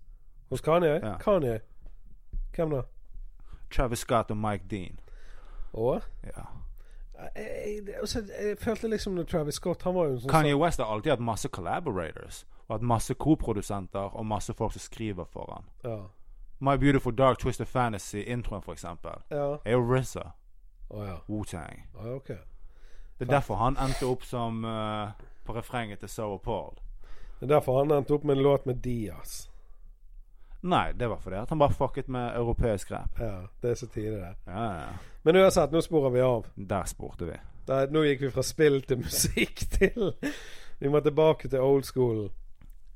Speaker 1: Hos Kanye?
Speaker 2: Ja.
Speaker 1: Kanye. Hvem da?
Speaker 2: Travis Scott og Mike Dean.
Speaker 1: Åh?
Speaker 2: Ja.
Speaker 1: Jeg, jeg, Eh, altså, jeg følte liksom når Travis Scott Han var jo en sånn
Speaker 2: Kanye West har alltid hatt masse collaborators. Og hatt masse koprodusenter og masse folk som skriver for han.
Speaker 1: Ja.
Speaker 2: My Beautiful Dark Twisted Fantasy, introen for eksempel,
Speaker 1: Ja.
Speaker 2: er jo RZA,
Speaker 1: Å ja.
Speaker 2: Wu-Tang.
Speaker 1: Å, ja, ok.
Speaker 2: Det er derfor han endte opp som eh, på refrenget til Sour Paul.
Speaker 1: Det er derfor han endte opp med en låt med Diaz.
Speaker 2: Nei, det var fordi at han bare fucket med europeisk rap.
Speaker 1: Ja, det er så tidlig, det.
Speaker 2: Ja, ja, ja.
Speaker 1: Men uansett, nå sporer vi av.
Speaker 2: Der spurte vi.
Speaker 1: Da, nå gikk vi fra spill til musikk til Vi må tilbake til old school.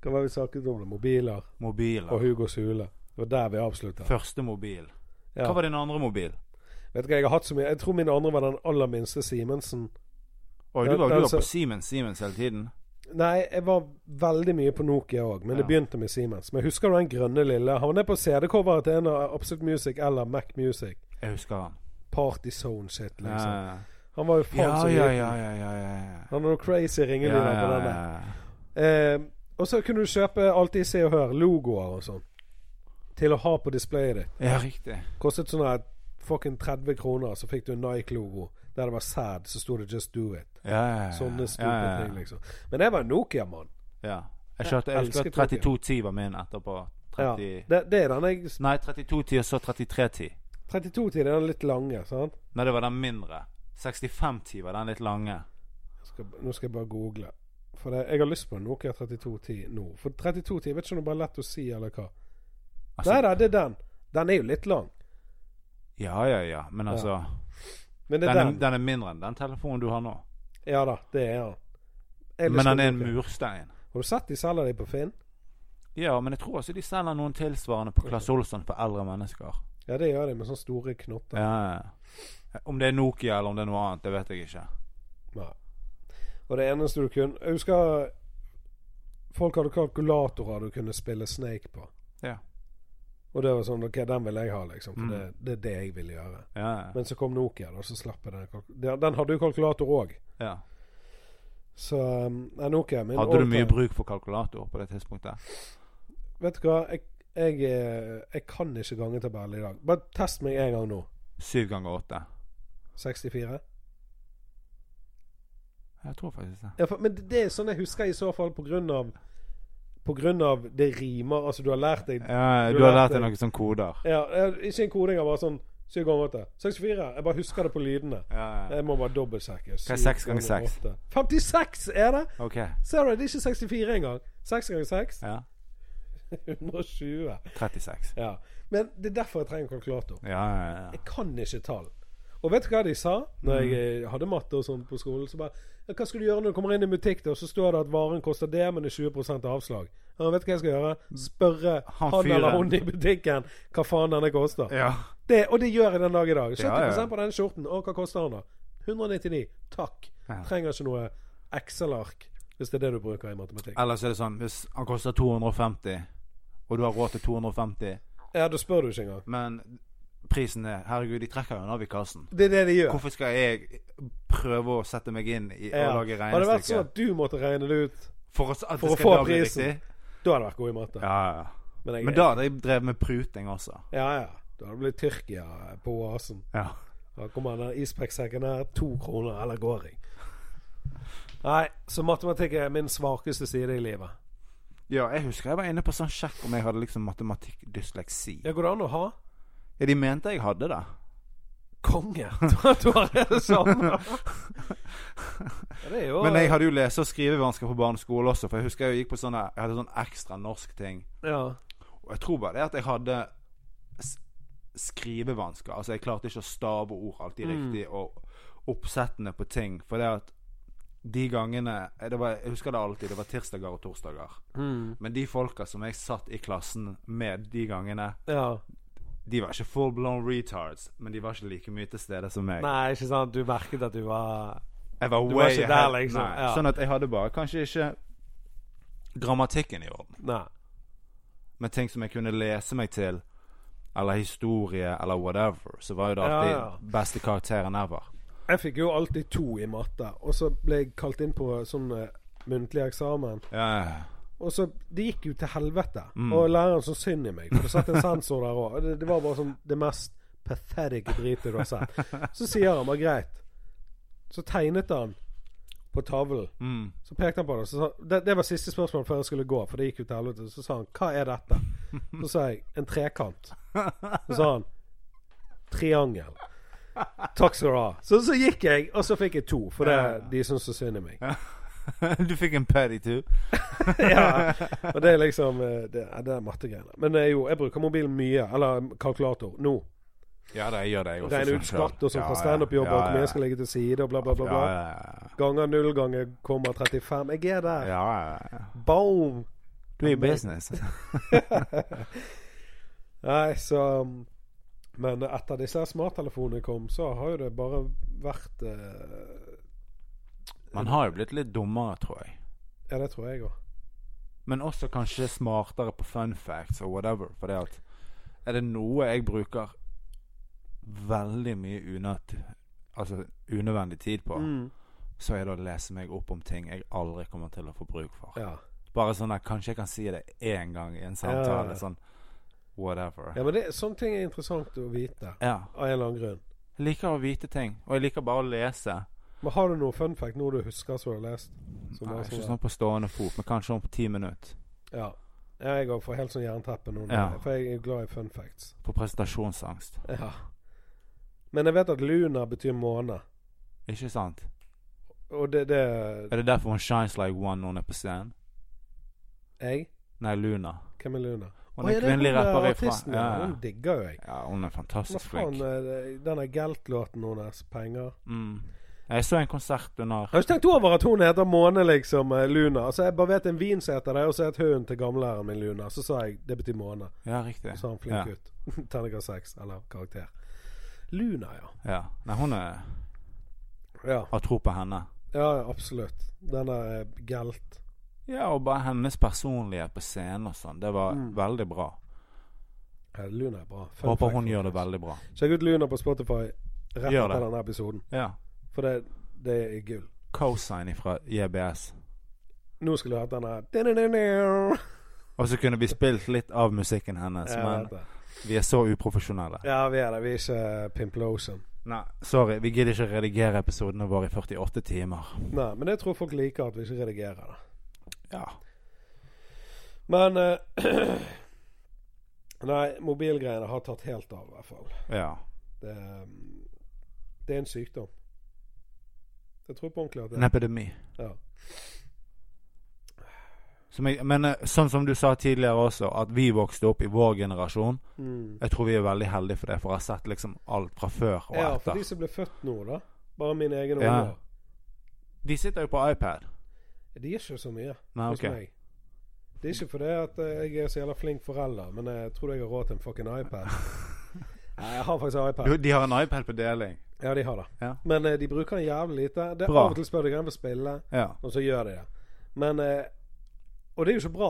Speaker 1: Hva var det vi snakket om? det? Mobiler og
Speaker 2: Mobiler.
Speaker 1: Hugos hule. Det var der vi avslutta.
Speaker 2: Første mobil.
Speaker 1: Ja.
Speaker 2: Hva var din andre mobil?
Speaker 1: Vet du hva, jeg har hatt så mye Jeg tror min andre var den aller minste Simensen.
Speaker 2: Oi,
Speaker 1: Ja,
Speaker 2: du var, du var
Speaker 1: altså-
Speaker 2: på Siemens, Siemens hele tiden.
Speaker 1: Nei, jeg var veldig mye på Nokia òg, men det
Speaker 2: Ja.
Speaker 1: begynte med Siemens. Men husker du den grønne lille? Han er på CD-coveret til en av Absolute Music eller Mac Music.
Speaker 2: Jeg husker han.
Speaker 1: Party Zone-shit,
Speaker 2: Ja,
Speaker 1: liksom. Han var jo faen
Speaker 2: ja,
Speaker 1: så
Speaker 2: ja,
Speaker 1: liten.
Speaker 2: ja, ja, ja, ja.
Speaker 1: Han hadde noe crazy
Speaker 2: Ja,
Speaker 1: ringelyder
Speaker 2: ja,
Speaker 1: på
Speaker 2: ja,
Speaker 1: den der.
Speaker 2: ja.
Speaker 1: Eh, og så kunne du kjøpe alltid Se og Hør, logoer og sånn, til å ha på displayet ditt.
Speaker 2: ja, riktig.
Speaker 1: Kostet sånn her fucking 30 kroner, så fikk du en Nike-logo der det var sad, så sto det 'Just do it'.
Speaker 2: Ja, ja, ja.
Speaker 1: Sånne stupid
Speaker 2: ja, ja, ja.
Speaker 1: ting, liksom. Men jeg var en Nokia-mann.
Speaker 2: Ja. Jeg kjørte jeg husker
Speaker 1: elsket
Speaker 2: 3210 var min etterpå.
Speaker 1: Ja,
Speaker 2: 30...
Speaker 1: det, det er den jeg
Speaker 2: Nei, 3210 og så 3310.
Speaker 1: 32-tiden er den litt lange, sant?
Speaker 2: Nei, det var den mindre. 6510 var den litt lange.
Speaker 1: Skal, nå skal jeg bare google. For det, jeg har lyst på en Nokia 3210 nå. For 3210 vet ikke om det er bare lett å si, eller hva.
Speaker 2: Altså-
Speaker 1: Nei da, det er den. Den er jo litt lang.
Speaker 2: Ja, ja, ja. Men altså
Speaker 1: Men det
Speaker 2: den,
Speaker 1: er
Speaker 2: er,
Speaker 1: den.
Speaker 2: den er mindre enn den telefonen du har nå.
Speaker 1: Ja da, det er den. Jeg har lyst
Speaker 2: Men
Speaker 1: på
Speaker 2: den er en
Speaker 1: Nokia.
Speaker 2: murstein.
Speaker 1: Har du sett de selger de på Finn?
Speaker 2: Ja, men jeg tror også de selger noen tilsvarende på Claes Olsson for eldre mennesker.
Speaker 1: Ja, det gjør de med sånne store knotter.
Speaker 2: Ja, ja. Om det er Nokia eller om det er noe annet, det vet jeg ikke.
Speaker 1: Nei. Og det eneste du kunne Jeg husker folk hadde kalkulatorer du kunne spille Snake på.
Speaker 2: Ja.
Speaker 1: Og det var sånn OK, den vil jeg ha, liksom. For
Speaker 2: Mm.
Speaker 1: det, det er det jeg vil gjøre.
Speaker 2: Ja, ja.
Speaker 1: Men så kom Nokia, da, så slapp jeg den. kalk- Den- Den hadde jo kalkulator òg.
Speaker 2: ja.
Speaker 1: Så um, nei, Nokia min
Speaker 2: Hadde du
Speaker 1: all
Speaker 2: mye
Speaker 1: time-
Speaker 2: bruk for kalkulator på det tidspunktet?
Speaker 1: Vet du hva, jeg, jeg, eh, jeg kan ikke gangetabell i dag. Bare test meg en gang nå.
Speaker 2: Syv ganger åtte?
Speaker 1: 64.
Speaker 2: Jeg tror faktisk det.
Speaker 1: Ja, for, men det- det er sånn jeg husker i så fall på grunn av På grunn av det rimer. Altså, du har lært deg
Speaker 2: Ja,
Speaker 1: Du
Speaker 2: du har
Speaker 1: lærte-
Speaker 2: lært deg noen sånne koder.
Speaker 1: Ja, jeg- Ikke en koding, jeg bare sånn 7 ganger 8. 64. Jeg bare husker det på lydene.
Speaker 2: Ja, ja.
Speaker 1: Jeg må bare dobbeltsjekke.
Speaker 2: Hva
Speaker 1: Syv
Speaker 2: er seks ganger
Speaker 1: ganger
Speaker 2: seks?
Speaker 1: åtte. 56 er det!
Speaker 2: OK.
Speaker 1: Ser du, det er ikke 64 engang. 6 ganger 6
Speaker 2: Ja.
Speaker 1: 120.
Speaker 2: 36.
Speaker 1: Ja. Men det er derfor jeg trenger kalkulator.
Speaker 2: Ja, ja, ja.
Speaker 1: Jeg kan ikke tall. Og vet du hva de sa Når jeg
Speaker 2: Mhm.
Speaker 1: eh, hadde matte og sånn på skolen? Så bare ja, 'Hva skal du gjøre når du kommer inn i en butikk, da, og så står det at varen koster det, men det er 20 avslag?' Ja, vet du hva jeg skal gjøre? Spørre han,
Speaker 2: Han
Speaker 1: eller
Speaker 2: fyren.
Speaker 1: hun i butikken hva faen denne koster.
Speaker 2: ja.
Speaker 1: Det, og det gjør jeg den dag i dag. 70
Speaker 2: Ja, ja.
Speaker 1: på denne skjorten. Å, hva koster den, da? 199. Takk.
Speaker 2: Ja.
Speaker 1: Trenger ikke noe Excel-ark, hvis det er det du bruker i matematikk.
Speaker 2: Ellers er det sånn Hvis han koster 250, og du har råd til 250,
Speaker 1: Ja, da spør du ikke engang.
Speaker 2: men prisen er Herregud, de trekker jo den av i kassen.
Speaker 1: Det er det de gjør.
Speaker 2: Hvorfor skal jeg prøve å sette meg inn i å
Speaker 1: Ja.
Speaker 2: lage
Speaker 1: Hadde det vært sånn
Speaker 2: regnestykke?
Speaker 1: at du måtte regne det ut,
Speaker 2: For, å- at
Speaker 1: for
Speaker 2: det
Speaker 1: å
Speaker 2: skal
Speaker 1: få
Speaker 2: da bli
Speaker 1: prisen.
Speaker 2: riktig?
Speaker 1: da hadde jeg vært god i matte.
Speaker 2: Ja, ja.
Speaker 1: Men, jeg,
Speaker 2: Men da hadde jeg drevet med pruting også.
Speaker 1: Ja, ja. Da hadde det blitt Tyrkia på oasen.
Speaker 2: Ja.
Speaker 1: Da kommer den isprekksekken her. To kroner, eller går jeg? Nei, så matematikk er min svakeste side i livet.
Speaker 2: ja, jeg husker jeg var inne på sånn sjekk om jeg hadde liksom matematikkdysleksi.
Speaker 1: Ja, går det an å ha?
Speaker 2: Ja, de mente jeg hadde det.
Speaker 1: Konge! du har det samme. Ja, det er jo
Speaker 2: Men jeg hadde jo lese- og skrivevansker på barneskolen også, for jeg husker jeg gikk på sånne Jeg hadde sånn ekstra norsk ting.
Speaker 1: eh, ja.
Speaker 2: Og jeg tror bare det at jeg hadde s- skrivevansker. Altså, jeg klarte ikke å stave ord alltid
Speaker 1: Mm.
Speaker 2: riktig, og oppsettene på ting. For det at de gangene eh, det var, Jeg husker det alltid. Det var tirsdager og torsdager.
Speaker 1: Mm.
Speaker 2: Men de folka som jeg satt i klassen med de gangene,
Speaker 1: Ja.
Speaker 2: de var ikke full blown retards, men de var ikke like mye til stede som meg.
Speaker 1: Nei, ikke sant. Du merket at du var
Speaker 2: Jeg var
Speaker 1: Du
Speaker 2: way
Speaker 1: var ikke der,
Speaker 2: ahead.
Speaker 1: liksom.
Speaker 2: Nei.
Speaker 1: Ja.
Speaker 2: Sånn at jeg hadde bare kanskje ikke grammatikken i orden,
Speaker 1: Nei.
Speaker 2: men ting som jeg kunne lese meg til, eller historie, eller whatever, så var jo det
Speaker 1: Ja,
Speaker 2: alltid
Speaker 1: ja.
Speaker 2: beste karakteren ever.
Speaker 1: Jeg fikk jo alltid to i matte, og så ble jeg kalt inn på sånn eh, muntlig eksamen.
Speaker 2: Ja, ja.
Speaker 1: Og så Det gikk jo til helvete.
Speaker 2: Mm.
Speaker 1: Og læreren så synd i meg, for det satt en sensor der òg. Det, det var bare sånn det mest pathetic dritet du har sett. Så sier han bare greit. Så tegnet han på tavlen.
Speaker 2: Mm.
Speaker 1: Så pekte han på det. Så sa, det, det var siste spørsmål før jeg skulle gå, for det gikk jo til helvete. Så sa han 'Hva er dette?' Så sa jeg 'En trekant'. Så sa han 'Triangel'. Takk skal du ha. Så, så gikk jeg, og så fikk jeg to, for
Speaker 2: Ja.
Speaker 1: det, de syntes så synd i meg.
Speaker 2: du fikk en paddy too.
Speaker 1: ja. Og det er liksom eh, Det, ja, det er mattegreiene. Men det er jo, jeg bruker mobilen mye. Eller eh, kalkulator. Nå.
Speaker 2: Ja, det gjør det jeg også.
Speaker 1: Regner ut skatt og sånn fra standup-jobb, og hvor mye skal ligge til side, og bla, bla, bla.
Speaker 2: Ja,
Speaker 1: bla.
Speaker 2: ja,
Speaker 1: Ganger null ganger kommer 35. Jeg er
Speaker 2: ja.
Speaker 1: der.
Speaker 2: ja, ja.
Speaker 1: Boom!
Speaker 2: Du er i business.
Speaker 1: Nei, så Men etter disse her smarttelefonene kom, så har jo det bare vært eh,
Speaker 2: Man har jo blitt litt dummere, tror jeg.
Speaker 1: Ja, det tror jeg òg.
Speaker 2: Men også kanskje smartere på fun facts og whatever. For det at er det noe jeg bruker veldig mye unødt, altså unødvendig tid på,
Speaker 1: Mm.
Speaker 2: så er det å lese meg opp om ting jeg aldri kommer til å få bruk for.
Speaker 1: Ja.
Speaker 2: Bare sånn at kanskje jeg kan si det én gang i en
Speaker 1: Ja.
Speaker 2: samtale. Sånn whatever.
Speaker 1: ja, men det, sånne ting er interessant å vite.
Speaker 2: Ja.
Speaker 1: Av en eller annen grunn.
Speaker 2: Jeg liker å vite ting, og jeg liker bare å lese.
Speaker 1: Men har du noe fun fact nå du husker som du har lest? Som
Speaker 2: Nei,
Speaker 1: var
Speaker 2: ikke
Speaker 1: sånn-
Speaker 2: sånn på stående fot, men kanskje om ti minutter.
Speaker 1: Ja. Jeg òg får helt sånn jernteppe nå,
Speaker 2: Ja.
Speaker 1: for jeg er jo glad i fun facts.
Speaker 2: På prestasjonsangst.
Speaker 1: Ja. Men jeg vet at luna betyr måne,
Speaker 2: Ikke sant?
Speaker 1: og det, det
Speaker 2: Er det derfor hun shines like one når hun er på scenen?
Speaker 1: Jeg?
Speaker 2: Nei, Luna.
Speaker 1: Hvem er luna?
Speaker 2: Hun
Speaker 1: Å,
Speaker 2: er
Speaker 1: ja, det
Speaker 2: kvinnelig
Speaker 1: hun, eh,
Speaker 2: rapper ifra
Speaker 1: artisten,
Speaker 2: ja,
Speaker 1: ja.
Speaker 2: ja.
Speaker 1: Hun digger jo jeg.
Speaker 2: ja, hun er
Speaker 1: Hva
Speaker 2: fantastisk
Speaker 1: faen
Speaker 2: flink.
Speaker 1: er det- denne Gelt-låten hennes, 'Penger'?
Speaker 2: Mm. Jeg så en konsert under
Speaker 1: Jeg har ikke tenkt over at hun heter Måne, liksom, eh, Luna. Altså, Jeg bare vet en vin som heter det, og så het hunden til gamlelæreren min Luna. Så sa jeg det betyr måne.
Speaker 2: Ja, riktig.
Speaker 1: Så sa han
Speaker 2: ja.
Speaker 1: flink gutt. Terningkast seks, eller karakter. Luna, ja.
Speaker 2: Ja. Nei, hun er
Speaker 1: Ja,
Speaker 2: har tro på henne.
Speaker 1: ja ja, absolutt. Den der eh, Gelt.
Speaker 2: Ja, og bare hennes personlighet på scenen og sånn. Det var
Speaker 1: Mm.
Speaker 2: veldig bra.
Speaker 1: Ja, Luna er bra. Fun
Speaker 2: Håper
Speaker 1: fact,
Speaker 2: hun
Speaker 1: fun
Speaker 2: gjør det
Speaker 1: fact.
Speaker 2: veldig bra.
Speaker 1: Sjekk ut Luna på Spotify rett
Speaker 2: Gjør
Speaker 1: etter
Speaker 2: det.
Speaker 1: denne episoden.
Speaker 2: Ja.
Speaker 1: For det, det er gull.
Speaker 2: Cosign fra JBS.
Speaker 1: Nå skulle du hatt denne her.
Speaker 2: Og så kunne vi spilt litt av musikken hennes,
Speaker 1: Ja,
Speaker 2: men
Speaker 1: vet det.
Speaker 2: vi er så uprofesjonelle.
Speaker 1: ja, vi er det. Vi er ikke Pimplotion.
Speaker 2: Nei, sorry. Vi gidder ikke å redigere episodene våre i 48 timer.
Speaker 1: Nei, men jeg tror folk liker at vi ikke redigerer det.
Speaker 2: Ja.
Speaker 1: Men eh, Nei, mobilgreiene har tatt helt av, i hvert fall.
Speaker 2: Ja.
Speaker 1: Det, mm, det er en sykdom. Jeg tror på ordentlig at det
Speaker 2: En epidemi.
Speaker 1: Ja.
Speaker 2: Som jeg, men eh, sånn som du sa tidligere også, at vi vokste opp i vår generasjon.
Speaker 1: Mm.
Speaker 2: Jeg tror vi er veldig heldige for det, for jeg har sett liksom alt fra før og
Speaker 1: ja, for
Speaker 2: etter.
Speaker 1: de som ble født nå, da. Bare mine egne
Speaker 2: Ja.
Speaker 1: unger.
Speaker 2: De sitter jo på iPad.
Speaker 1: De gjør ikke så mye.
Speaker 2: Nei,
Speaker 1: hos
Speaker 2: Ah, ok.
Speaker 1: meg. Det er ikke fordi at eh, jeg er så jævla flink forelder, men jeg tror jeg har råd til en fucking iPad. Nei, jeg har faktisk iPad.
Speaker 2: Jo, de har en iPad på deling.
Speaker 1: Ja, de har det.
Speaker 2: Ja.
Speaker 1: Men eh, de bruker den jævlig lite. Det,
Speaker 2: Bra.
Speaker 1: av og til spør de hvem vil spille,
Speaker 2: Ja.
Speaker 1: og så gjør de det. Men eh, Og det er jo ikke bra.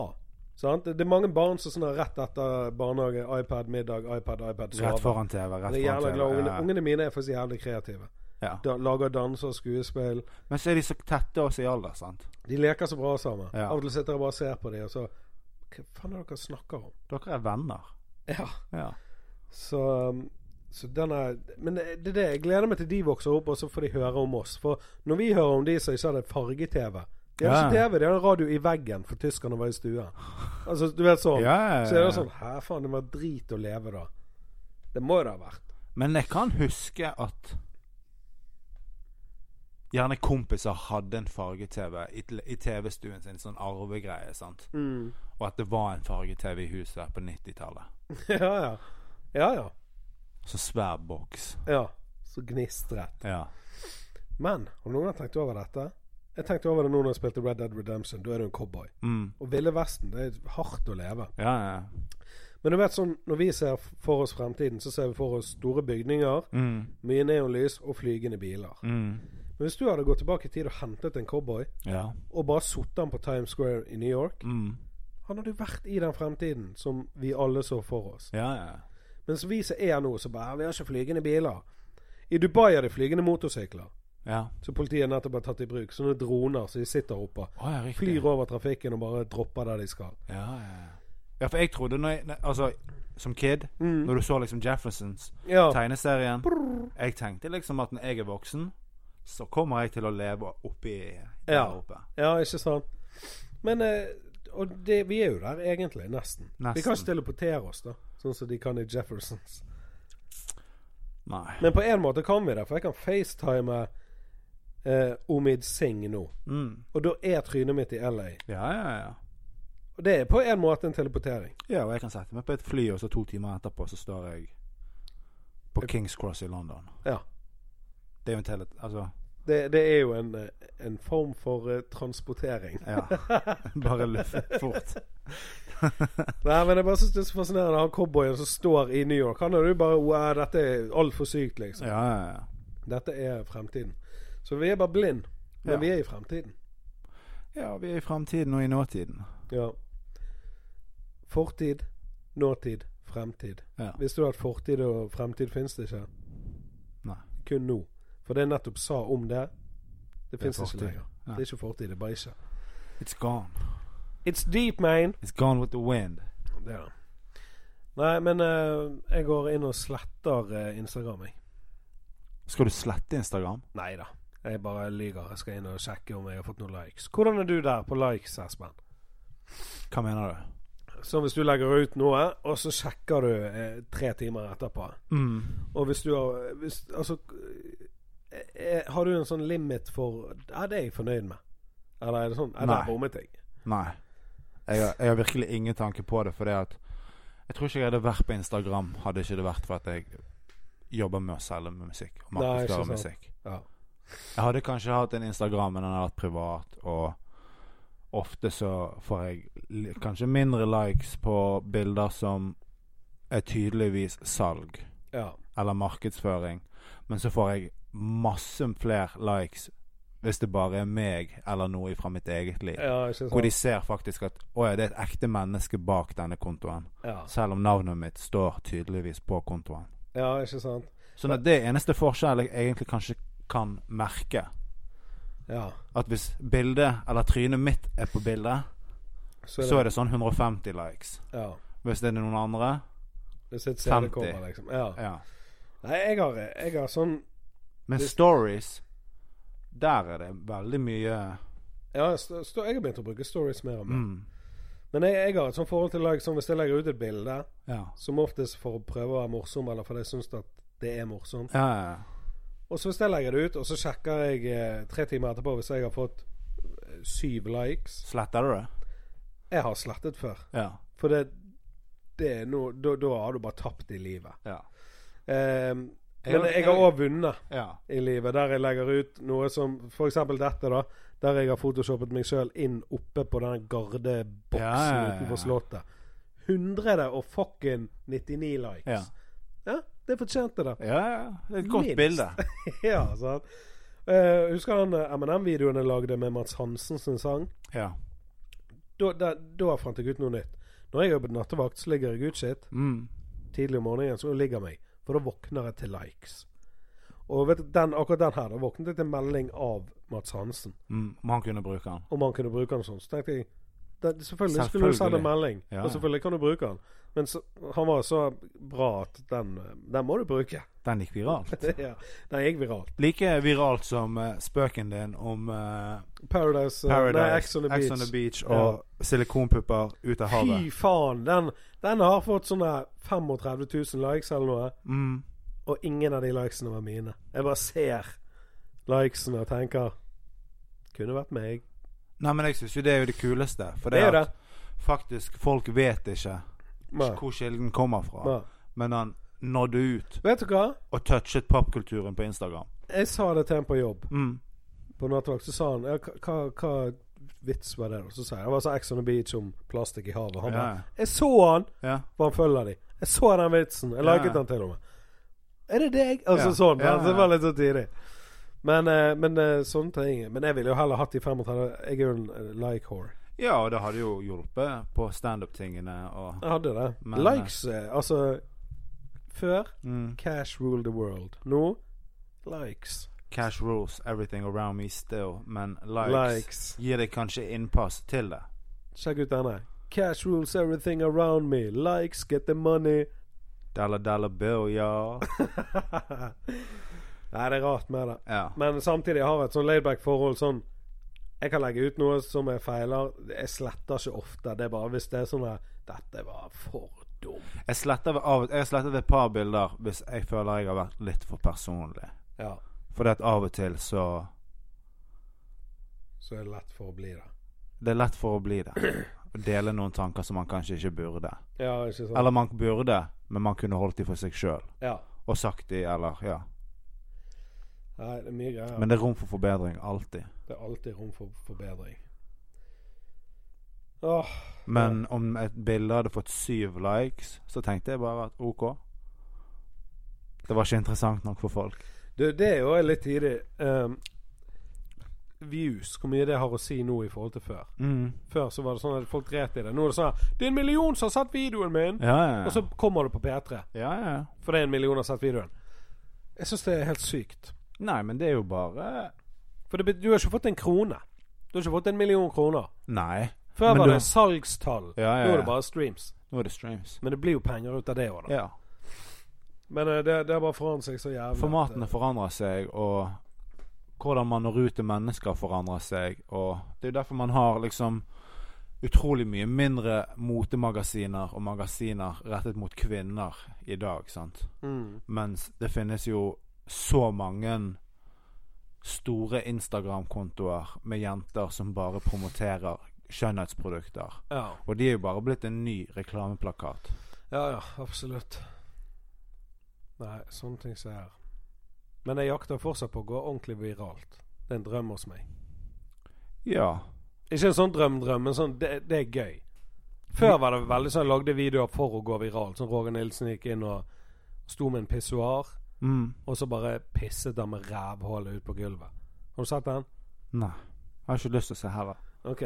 Speaker 1: Sant? Det det er mange barn som sånn har rett etter barnehage, iPad, middag, iPad, iPad,
Speaker 2: Rett
Speaker 1: sove.
Speaker 2: foran TV. Rett
Speaker 1: Jeg er jævla glad.
Speaker 2: foran
Speaker 1: Ungene,
Speaker 2: TV.
Speaker 1: ungene mine er faktisk jævlig kreative.
Speaker 2: Ja.
Speaker 1: Da, lager danser, skuespill.
Speaker 2: ja. Men så er de så tette også i alder, sant.
Speaker 1: De leker så bra sammen.
Speaker 2: Ja.
Speaker 1: Av og til sitter jeg bare og ser på dem, og så Hva faen er det dere snakker om?
Speaker 2: Dere er venner.
Speaker 1: Ja.
Speaker 2: Ja.
Speaker 1: Så, um, så den er Men det er det. Jeg gleder meg til de vokser opp, og så får de høre om oss. For når vi hører om de som ikke hadde farge-TV De hadde ikke
Speaker 2: Ja.
Speaker 1: TV, de hadde radio i veggen, for tyskerne var i stuen. Altså, du vet sånn.
Speaker 2: Ja,
Speaker 1: Så er det sånn Hæ, faen, det var drit å leve da. Det må det ha vært.
Speaker 2: Men jeg kan huske at Gjerne kompiser hadde en farge-TV i, t- i TV-stuen sin, sånn arvegreie, sant. Og at det var en farge-TV i huset på 90-tallet.
Speaker 1: ja, ja. Ja, ja.
Speaker 2: Så svær boks.
Speaker 1: ja. Så gnistret.
Speaker 2: Ja.
Speaker 1: Men har du noen gang tenkt over dette? Jeg tenkte over det nå når jeg spilte Red Dead Redemption. Da er du en cowboy.
Speaker 2: Mm.
Speaker 1: Og Ville Vesten, det er hardt å leve.
Speaker 2: Ja, ja.
Speaker 1: Men du vet sånn, når vi ser for oss fremtiden, så ser vi for oss store bygninger,
Speaker 2: Mm.
Speaker 1: mye neonlys og flygende biler.
Speaker 2: Mm.
Speaker 1: Men hvis du hadde gått tilbake i tid og hentet en cowboy,
Speaker 2: Ja.
Speaker 1: og bare sittet han på Times Square i New York
Speaker 2: Mm.
Speaker 1: Han hadde jo vært i den fremtiden som vi alle så for oss.
Speaker 2: ja, ja.
Speaker 1: Mens vi som er her nå, så bare Vi har ikke flygende biler. I Dubai er det flygende motorsykler,
Speaker 2: Ja.
Speaker 1: som politiet nettopp har tatt i bruk. Sånne droner som de sitter oppå.
Speaker 2: Å, ja, riktig.
Speaker 1: Flyr over trafikken og bare dropper der de skal.
Speaker 2: Ja, ja, ja. ja, for jeg trodde når jeg, ne- Altså, som kid, når du så liksom Jeffersons
Speaker 1: Ja.
Speaker 2: tegneserien Jeg tenkte liksom at når jeg er voksen, så kommer jeg til å leve oppi der
Speaker 1: Ja.
Speaker 2: oppe.
Speaker 1: Ja, ikke sant? Men eh, Og det, vi er jo der, egentlig. Nesten. Vi kan
Speaker 2: Nesten.
Speaker 1: ikke teleportere oss, da. Sånn som de kan i Jeffersons.
Speaker 2: Nei.
Speaker 1: Men på en måte kan vi det, for jeg kan facetime eh, Omid Singh nå.
Speaker 2: Mm.
Speaker 1: Og da er trynet mitt i LA.
Speaker 2: Ja, ja, ja.
Speaker 1: Og det er på en måte en teleportering.
Speaker 2: Ja, og jeg kan sette meg på et fly, og så to timer etterpå så står jeg på Kings Cross i London.
Speaker 1: Ja.
Speaker 2: Det er jo en tele... Altså,
Speaker 1: Det, det er jo en, eh, en form for eh, transportering.
Speaker 2: ja. Bare luffe fort.
Speaker 1: Nei, men jeg bare synes det er så fascinerende han cowboyen som står i New York. Han er jo bare Wow, dette er altfor sykt, liksom.
Speaker 2: Ja, ja, ja.
Speaker 1: Dette er fremtiden. Så vi er bare blind, men
Speaker 2: Ja.
Speaker 1: vi er i fremtiden.
Speaker 2: Ja, vi er i framtiden og i nåtiden.
Speaker 1: Ja. Fortid, nåtid, fremtid.
Speaker 2: Ja.
Speaker 1: Visste du at fortid og fremtid finnes det ikke?
Speaker 2: Nei.
Speaker 1: Kun nå. For det jeg nettopp sa om det, det
Speaker 2: Det er
Speaker 1: finnes ikke
Speaker 2: fortid.
Speaker 1: lenger.
Speaker 2: Nei.
Speaker 1: Det er ikke fortid, det er bare ikke.
Speaker 2: It's gone.
Speaker 1: It's deep, man.
Speaker 2: It's gone with the wind.
Speaker 1: Det er det. Nei, men eh, jeg går inn og sletter eh, Instagram, jeg.
Speaker 2: Skal du slette Instagram?
Speaker 1: Nei da. Jeg bare lyver. Jeg skal inn og sjekke om jeg har fått noen likes. Hvordan er du der på likes, Espen?
Speaker 2: Hva mener du?
Speaker 1: Så hvis du legger ut noe, og så sjekker du eh, tre timer etterpå.
Speaker 2: Mm.
Speaker 1: Og hvis du har hvis, Altså eh, eh, Har du en sånn limit for Er det jeg fornøyd med? Eller er det sånn Er det
Speaker 2: Nei.
Speaker 1: bommet jeg?
Speaker 2: Nei. Jeg har, jeg har virkelig ingen tanke på det, fordi at Jeg tror ikke jeg hadde vært på Instagram hadde ikke det vært for at jeg jobber med å selge musikk. Og
Speaker 1: Nei, ikke
Speaker 2: markedsføre
Speaker 1: sant.
Speaker 2: musikk.
Speaker 1: Ja.
Speaker 2: Jeg hadde kanskje hatt en Instagram, men den hadde vært privat. Og ofte så får jeg li- kanskje mindre likes på bilder som er tydeligvis salg
Speaker 1: ja.
Speaker 2: eller markedsføring, men så får jeg masse flere likes hvis det bare er meg eller noe fra mitt eget liv.
Speaker 1: ja ikke
Speaker 2: Hvor de
Speaker 1: sant?
Speaker 2: ser faktisk at å ja, det er et ekte menneske bak denne kontoen.
Speaker 1: Ja.
Speaker 2: Selv om navnet mitt står tydeligvis på kontoen.
Speaker 1: ja, ikke sant?
Speaker 2: Sånn at det er eneste forskjellen jeg egentlig kanskje kan merke,
Speaker 1: Ja.
Speaker 2: at hvis bildet eller trynet mitt er på bildet,
Speaker 1: Så
Speaker 2: så
Speaker 1: er det,
Speaker 2: er det sånn 150 likes.
Speaker 1: ja.
Speaker 2: Hvis det er noen andre
Speaker 1: Hvis et CD
Speaker 2: 50.
Speaker 1: kommer, liksom. Ja.
Speaker 2: Ja.
Speaker 1: Nei, jeg har, jeg har sånn
Speaker 2: Men
Speaker 1: Hvis-
Speaker 2: stories Der er det veldig mye
Speaker 1: Ja, sto, sto, jeg har begynt å bruke stories mer og mer.
Speaker 2: mm,
Speaker 1: Men jeg, jeg har et sånt forhold til like, sånn hvis jeg legger ut et bilde,
Speaker 2: Ja.
Speaker 1: som oftest for å prøve å være morsom, eller fordi jeg syns at det er morsomt.
Speaker 2: Ja, ja, ja.
Speaker 1: Og så hvis jeg legger det ut, og så sjekker jeg eh, tre timer etterpå hvis jeg har fått eh, syv likes
Speaker 2: Sletter du det?
Speaker 1: Jeg har slettet før.
Speaker 2: Ja.
Speaker 1: For det, det er noe Da da har du bare tapt i livet.
Speaker 2: Ja.
Speaker 1: Eh,
Speaker 2: Jeg
Speaker 1: men
Speaker 2: har-
Speaker 1: jeg har òg vunnet
Speaker 2: ja.
Speaker 1: i livet, der jeg legger ut noe som f.eks. dette, da. Der jeg har photoshoppet meg sjøl inn oppe på den gardeboksen
Speaker 2: Ja, ja, ja, ja.
Speaker 1: utenfor Slottet. 100 og fucking 99 likes.
Speaker 2: Ja.
Speaker 1: ja det fortjente det.
Speaker 2: ja, ja. Det er et godt
Speaker 1: Minst.
Speaker 2: bilde.
Speaker 1: ja, sant. Eh, husker han MNM-videoen jeg lagde med Mats Hansen sin sang?
Speaker 2: Ja.
Speaker 1: Da, da, da fant jeg ut noe nytt. Når jeg er på nattevakt, så ligger jeg ut shit.
Speaker 2: Mm.
Speaker 1: Tidlig om morgenen så ligger jeg meg, for da våkner jeg til likes. Og vet du, den, akkurat den her, da våknet jeg til melding av Mats Hansen.
Speaker 2: Mm. Om han kunne bruke den.
Speaker 1: Om han kunne bruke den sånn. Så tenkte jeg da, Selvfølgelig skulle du sende
Speaker 2: Selvfølgelig.
Speaker 1: melding,
Speaker 2: Ja, ja.
Speaker 1: og selvfølgelig kan du bruke den. Men så, han var så bra at den, den må du bruke.
Speaker 2: Den gikk viralt.
Speaker 1: ja, den gikk viralt.
Speaker 2: Like viralt som eh, spøken din om eh,
Speaker 1: Paradise, eh,
Speaker 2: Paradise,
Speaker 1: nei, Ex on the Beach.
Speaker 2: Beach og silikonpupper ut av havet.
Speaker 1: Fy faen! Den, den har fått sånne 35 000 likes eller noe,
Speaker 2: Mm.
Speaker 1: og ingen av de likesene var mine. Jeg bare ser likesene og tenker Kunne vært meg.
Speaker 2: Nei, men jeg syns jo det er jo det kuleste. For
Speaker 1: Det
Speaker 2: det,
Speaker 1: er jo
Speaker 2: er
Speaker 1: det.
Speaker 2: at faktisk folk vet ikke
Speaker 1: Nei.
Speaker 2: hvor kilden kommer fra.
Speaker 1: Nei.
Speaker 2: Men han nådde ut
Speaker 1: Vet du hva?
Speaker 2: og touchet popkulturen på Instagram.
Speaker 1: Jeg sa det til en på jobb.
Speaker 2: Mm.
Speaker 1: på nattvakt, så sa han ja, hva- hva, hva vits var det? Og så sa jeg det var så Ex on the Beach om plastikk i havet. Han bare
Speaker 2: Ja.
Speaker 1: Jeg så han!
Speaker 2: ja.
Speaker 1: For han følger de. Jeg så den vitsen. Jeg
Speaker 2: Ja.
Speaker 1: liket den til og med. Er det deg? Altså
Speaker 2: Ja.
Speaker 1: sånn.
Speaker 2: Ja,
Speaker 1: altså,
Speaker 2: ja.
Speaker 1: det var litt så tidlig. Men, eh, men eh, sånne ting Men jeg ville jo heller hatt de 35. Jeg er jo en eh, like whore.
Speaker 2: ja, og det hadde jo hjulpet på standup-tingene og
Speaker 1: Jeg hadde det.
Speaker 2: Men, eh,
Speaker 1: Likes, eh, altså Før
Speaker 2: mm.
Speaker 1: cash rule the world. Nå likes.
Speaker 2: Cash rules everything around me still, men likes,
Speaker 1: Likes.
Speaker 2: gir deg kanskje innpass til det.
Speaker 1: Sjekk ut denne. Cash rules everything around me. Likes, get the money.
Speaker 2: Dollar dollar bill, ja.
Speaker 1: Nei, det er rart med det.
Speaker 2: ja.
Speaker 1: Men samtidig jeg har et sånn laidback forhold sånn Jeg kan legge ut noe som jeg feiler. Jeg sletter ikke ofte. Det er bare hvis det er sånn der Dette var for dumt.
Speaker 2: Jeg sletter ved- av, jeg sletter ved et par bilder hvis jeg føler jeg har vært litt for personlig.
Speaker 1: Ja.
Speaker 2: For det at av og til så
Speaker 1: Så er det lett for å bli det.
Speaker 2: Det er lett for å bli det. Å dele noen tanker som man kanskje ikke burde.
Speaker 1: Ja, ikke sant?
Speaker 2: Eller man burde, men man kunne holdt de for seg sjøl.
Speaker 1: Ja.
Speaker 2: Og sagt de, eller ja.
Speaker 1: Nei, det er mye greier.
Speaker 2: Men det er rom for forbedring, alltid.
Speaker 1: det er alltid rom for forbedring. Åh,
Speaker 2: Men om et bilde hadde fått syv likes, så tenkte jeg bare at ok. Det var ikke interessant nok for folk.
Speaker 1: du, det er jo litt tidlig. Ehm, views, hvor mye det har å si nå i forhold til før.
Speaker 2: Mm.
Speaker 1: Før så var det sånn at folk dret i det. Nå er det sånn her, Det er en million som har sett videoen min!
Speaker 2: Ja, ja, ja.
Speaker 1: Og så kommer det på P3.
Speaker 2: ja, ja. ja.
Speaker 1: For det er en million har sett videoen. Jeg syns det er helt sykt.
Speaker 2: Nei, men det er jo bare
Speaker 1: For det, bet- du har ikke fått en krone. Du har ikke fått en million kroner.
Speaker 2: Nei.
Speaker 1: Før
Speaker 2: Men
Speaker 1: var
Speaker 2: du-
Speaker 1: det salgstall.
Speaker 2: Ja, ja,
Speaker 1: Nå er
Speaker 2: ja.
Speaker 1: det bare streams.
Speaker 2: Nå er det streams.
Speaker 1: Men det blir jo penger ut av det òg, da.
Speaker 2: Ja.
Speaker 1: Men eh, det, det har bare forandret seg så jævlig.
Speaker 2: Formatene
Speaker 1: at,
Speaker 2: forandrer seg, og hvordan man når ut til mennesker forandrer seg. Og det er jo derfor man har liksom utrolig mye mindre motemagasiner og magasiner rettet mot kvinner i dag, sant.
Speaker 1: eh, mm.
Speaker 2: Mens det finnes jo så mange store Instagram-kontoer med jenter som bare promoterer skjønnhetsprodukter.
Speaker 1: ja.
Speaker 2: Og de er jo bare blitt en ny reklameplakat.
Speaker 1: ja, ja. Absolutt. Nei, sånne ting som er her. Men jeg jakter fortsatt på å gå ordentlig viralt. Det er en drøm hos meg.
Speaker 2: Ja.
Speaker 1: Ikke en sånn drøm-drøm, men sånn, det, det er gøy. Før var det veldig sånn jeg lagde videoer for å gå viralt. Sånn Roger Nilsen gikk inn og sto med en pissoar,
Speaker 2: Mm.
Speaker 1: og så bare pisset han med rævhullet ut på gulvet. Har du sett den?
Speaker 2: Nei. Jeg har ikke lyst til å se heller.
Speaker 1: Ok.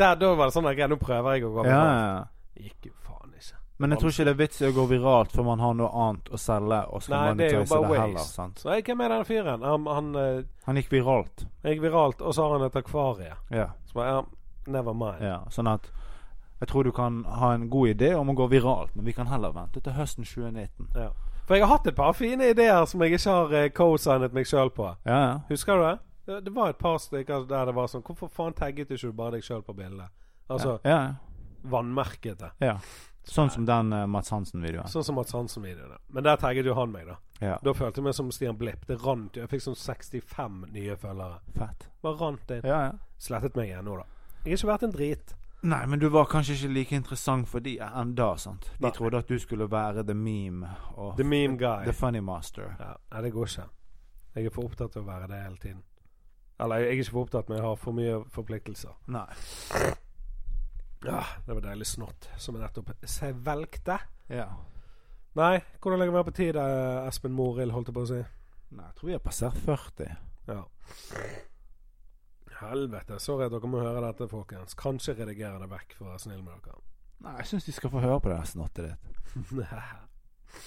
Speaker 1: Der, da var det sånn at nå prøver jeg å gå
Speaker 2: Ja, ja,
Speaker 1: viralt.
Speaker 2: ja.
Speaker 1: Gikk jo faen ikke.
Speaker 2: Men jeg tror ikke det er vits i å gå viralt før man har noe annet å selge. Og skal
Speaker 1: Nei, det er jo
Speaker 2: monetize
Speaker 1: bare
Speaker 2: det
Speaker 1: waste.
Speaker 2: heller, sant?
Speaker 1: Så jeg, hvem er den fyren? Han, han eh,
Speaker 2: Han gikk viralt.
Speaker 1: gikk viralt, og så har han et akvarie.
Speaker 2: Ja.
Speaker 1: Så bare, ja, never mind.
Speaker 2: ja. Sånn at jeg tror du kan ha en god idé om å gå viralt, men vi kan heller vente til høsten 2019.
Speaker 1: Ja. For jeg har hatt et par fine ideer som jeg ikke har eh, co-signet meg sjøl på.
Speaker 2: Ja, ja.
Speaker 1: Husker du det? det? Det var et par stykker der det var sånn Hvorfor faen tagget du ikke bare deg sjøl på bildet? Altså
Speaker 2: ja, ja.
Speaker 1: vannmerket det.
Speaker 2: Ja. Sånn som den eh, Mats Hansen-videoen.
Speaker 1: Sånn som Mads Hansen-videoene. Men der tagget jo han meg, da.
Speaker 2: Ja.
Speaker 1: Da følte jeg meg som Stian Blipp. Det rant jo. Jeg fikk sånn 65 nye følgere.
Speaker 2: Fett.
Speaker 1: Bare rant inn.
Speaker 2: Ja, ja.
Speaker 1: Slettet meg igjen nå, da. Jeg har ikke vært en drit.
Speaker 2: Nei, men du var kanskje ikke like interessant for de enn da, sant? De
Speaker 1: Nei.
Speaker 2: trodde at du skulle være the meme og
Speaker 1: The meme guy.
Speaker 2: the funny master.
Speaker 1: Ja, nei, det går ikke. Jeg er for opptatt av å være det hele tiden. Eller jeg er ikke for opptatt, men jeg har for mye forpliktelser.
Speaker 2: Nei.
Speaker 1: Ja, det var deilig snott som jeg nettopp svelgte.
Speaker 2: Ja.
Speaker 1: Nei, hvordan legger vi an på tid, eh, Espen Morild, holdt jeg på å si?
Speaker 2: Nei, jeg tror vi har passert 40.
Speaker 1: Ja. Helvete. Sorry at dere må høre dette, folkens. Kanskje redigere det vekk, for å være snill med
Speaker 2: Nei, jeg syns de skal få høre på det her snottet ditt.
Speaker 1: dere.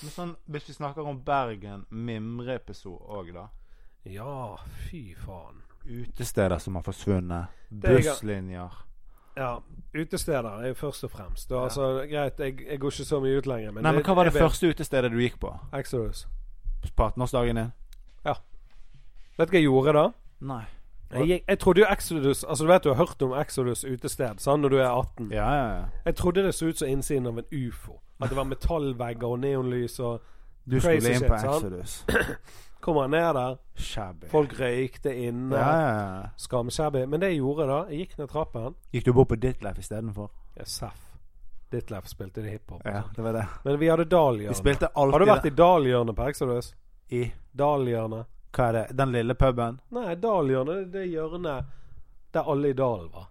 Speaker 2: Men sånn, Hvis vi snakker om Bergen, Mimre-episode òg, da.
Speaker 1: ja, fy faen.
Speaker 2: Utesteder som har
Speaker 1: er
Speaker 2: forsvunnet.
Speaker 1: jeg-
Speaker 2: Busslinjer.
Speaker 1: Ja, utesteder er jo først og fremst. Da,
Speaker 2: Ja.
Speaker 1: altså, greit, jeg, jeg går ikke så mye ut lenger, men,
Speaker 2: Nei, men Hva var det
Speaker 1: jeg vet-
Speaker 2: første utestedet du gikk på?
Speaker 1: Exodus.
Speaker 2: På 18-årsdagen din?
Speaker 1: Vet du hva jeg gjorde da?
Speaker 2: Nei.
Speaker 1: Jeg, gikk, jeg trodde jo Exodus Altså, du vet du har hørt om Exodus utested sant, når du er 18.
Speaker 2: Ja, ja, ja.
Speaker 1: Jeg trodde det så ut som innsiden av en ufo. At det var metallvegger og neonlys, og
Speaker 2: Du
Speaker 1: Crazy
Speaker 2: skulle inn
Speaker 1: shit,
Speaker 2: på
Speaker 1: sant?
Speaker 2: Exodus.
Speaker 1: kommer ned der,
Speaker 2: Shabby.
Speaker 1: folk røykte inne.
Speaker 2: Ja, ja, ja.
Speaker 1: Skamshabby. Men det jeg gjorde da, jeg gikk ned trappen
Speaker 2: Gikk du bort på Ditleif istedenfor?
Speaker 1: ja, Seff. Ditleff spilte det hiphop.
Speaker 2: Ja, det var det.
Speaker 1: Men vi hadde
Speaker 2: Vi
Speaker 1: Dalhjørnet.
Speaker 2: spilte alltid
Speaker 1: Har du vært i Dalhjørnet på Exodus?
Speaker 2: i
Speaker 1: Dalhjørnet.
Speaker 2: Hva er det? Den lille puben?
Speaker 1: Nei, Dalhjørnet, det er hjørnet der alle i dalen var.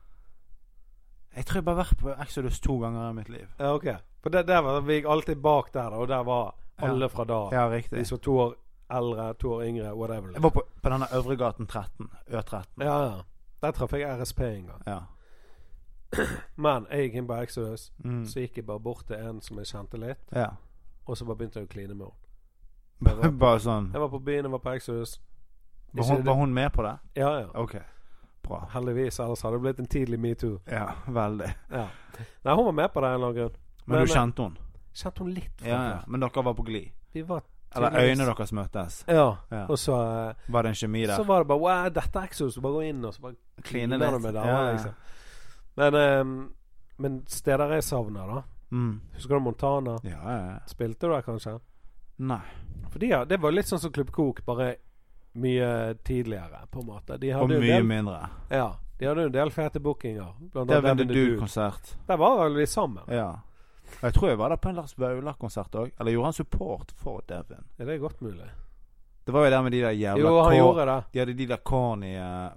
Speaker 2: Jeg tror jeg bare har vært på Exodus to ganger i mitt liv.
Speaker 1: Ja, ok. For der, der var, vi gikk alltid bak der, da, og der var alle fra dalen.
Speaker 2: Ja,
Speaker 1: De
Speaker 2: riktig.
Speaker 1: som var to år eldre, to år yngre, whatever.
Speaker 2: Jeg var på, på denne Øvregaten 13. Ø13.
Speaker 1: Ja, ja. Der traff jeg RSP en gang.
Speaker 2: Ja.
Speaker 1: Men jeg gikk inn på Exodus,
Speaker 2: Mm.
Speaker 1: så gikk jeg bare bort til en som jeg kjente litt,
Speaker 2: ja.
Speaker 1: og så bare begynte jeg å kline med henne.
Speaker 2: Bare, bare sånn
Speaker 1: Jeg var på byen, jeg var på Exodus.
Speaker 2: var hun, var hun med på det?
Speaker 1: Ja, ja.
Speaker 2: OK. Bra.
Speaker 1: Heldigvis, ellers hadde det blitt en tidlig metoo.
Speaker 2: Ja, veldig.
Speaker 1: Ja. Nei, hun var med på det av en eller annen grunn.
Speaker 2: Men,
Speaker 1: Men-
Speaker 2: du kjente hun?
Speaker 1: Kjente hun litt fra
Speaker 2: Ja, ja.
Speaker 1: før.
Speaker 2: Men dere var på glid?
Speaker 1: Vi var
Speaker 2: Eller
Speaker 1: tydeligvis-
Speaker 2: øynene deres møttes?
Speaker 1: Ja.
Speaker 2: Ja.
Speaker 1: Og så, eh,
Speaker 2: Var det en kjemi
Speaker 1: så
Speaker 2: der?
Speaker 1: var det bare Wow, dette er Exos. Bare gå inn og så bare
Speaker 2: Kline
Speaker 1: kliner
Speaker 2: litt.
Speaker 1: du med damer,
Speaker 2: Ja, ja.
Speaker 1: liksom. Men, eh, men steder jeg savner, da.
Speaker 2: Mm.
Speaker 1: Husker du Montana?
Speaker 2: Ja, ja, ja.
Speaker 1: Spilte du der, kanskje?
Speaker 2: Nei.
Speaker 1: For de, har- det var litt sånn som Klubb Kok, bare mye tidligere, på en måte. De
Speaker 2: Og
Speaker 1: hadde jo
Speaker 2: mye
Speaker 1: en del,
Speaker 2: mindre.
Speaker 1: ja, de hadde jo en del fete bookinger. Blant annet
Speaker 2: Der ville
Speaker 1: Evan the
Speaker 2: du
Speaker 1: Dude.
Speaker 2: konsert.
Speaker 1: Der var vel vi sammen?
Speaker 2: Ja. Og Jeg tror jeg var der på en Lars Vaular-konsert òg. Eller gjorde han support for Devin?
Speaker 1: Er det godt mulig?
Speaker 2: Det var jo der med de der jævla
Speaker 1: Jo, han
Speaker 2: kor-
Speaker 1: gjorde det.
Speaker 2: De hadde de der corny eh,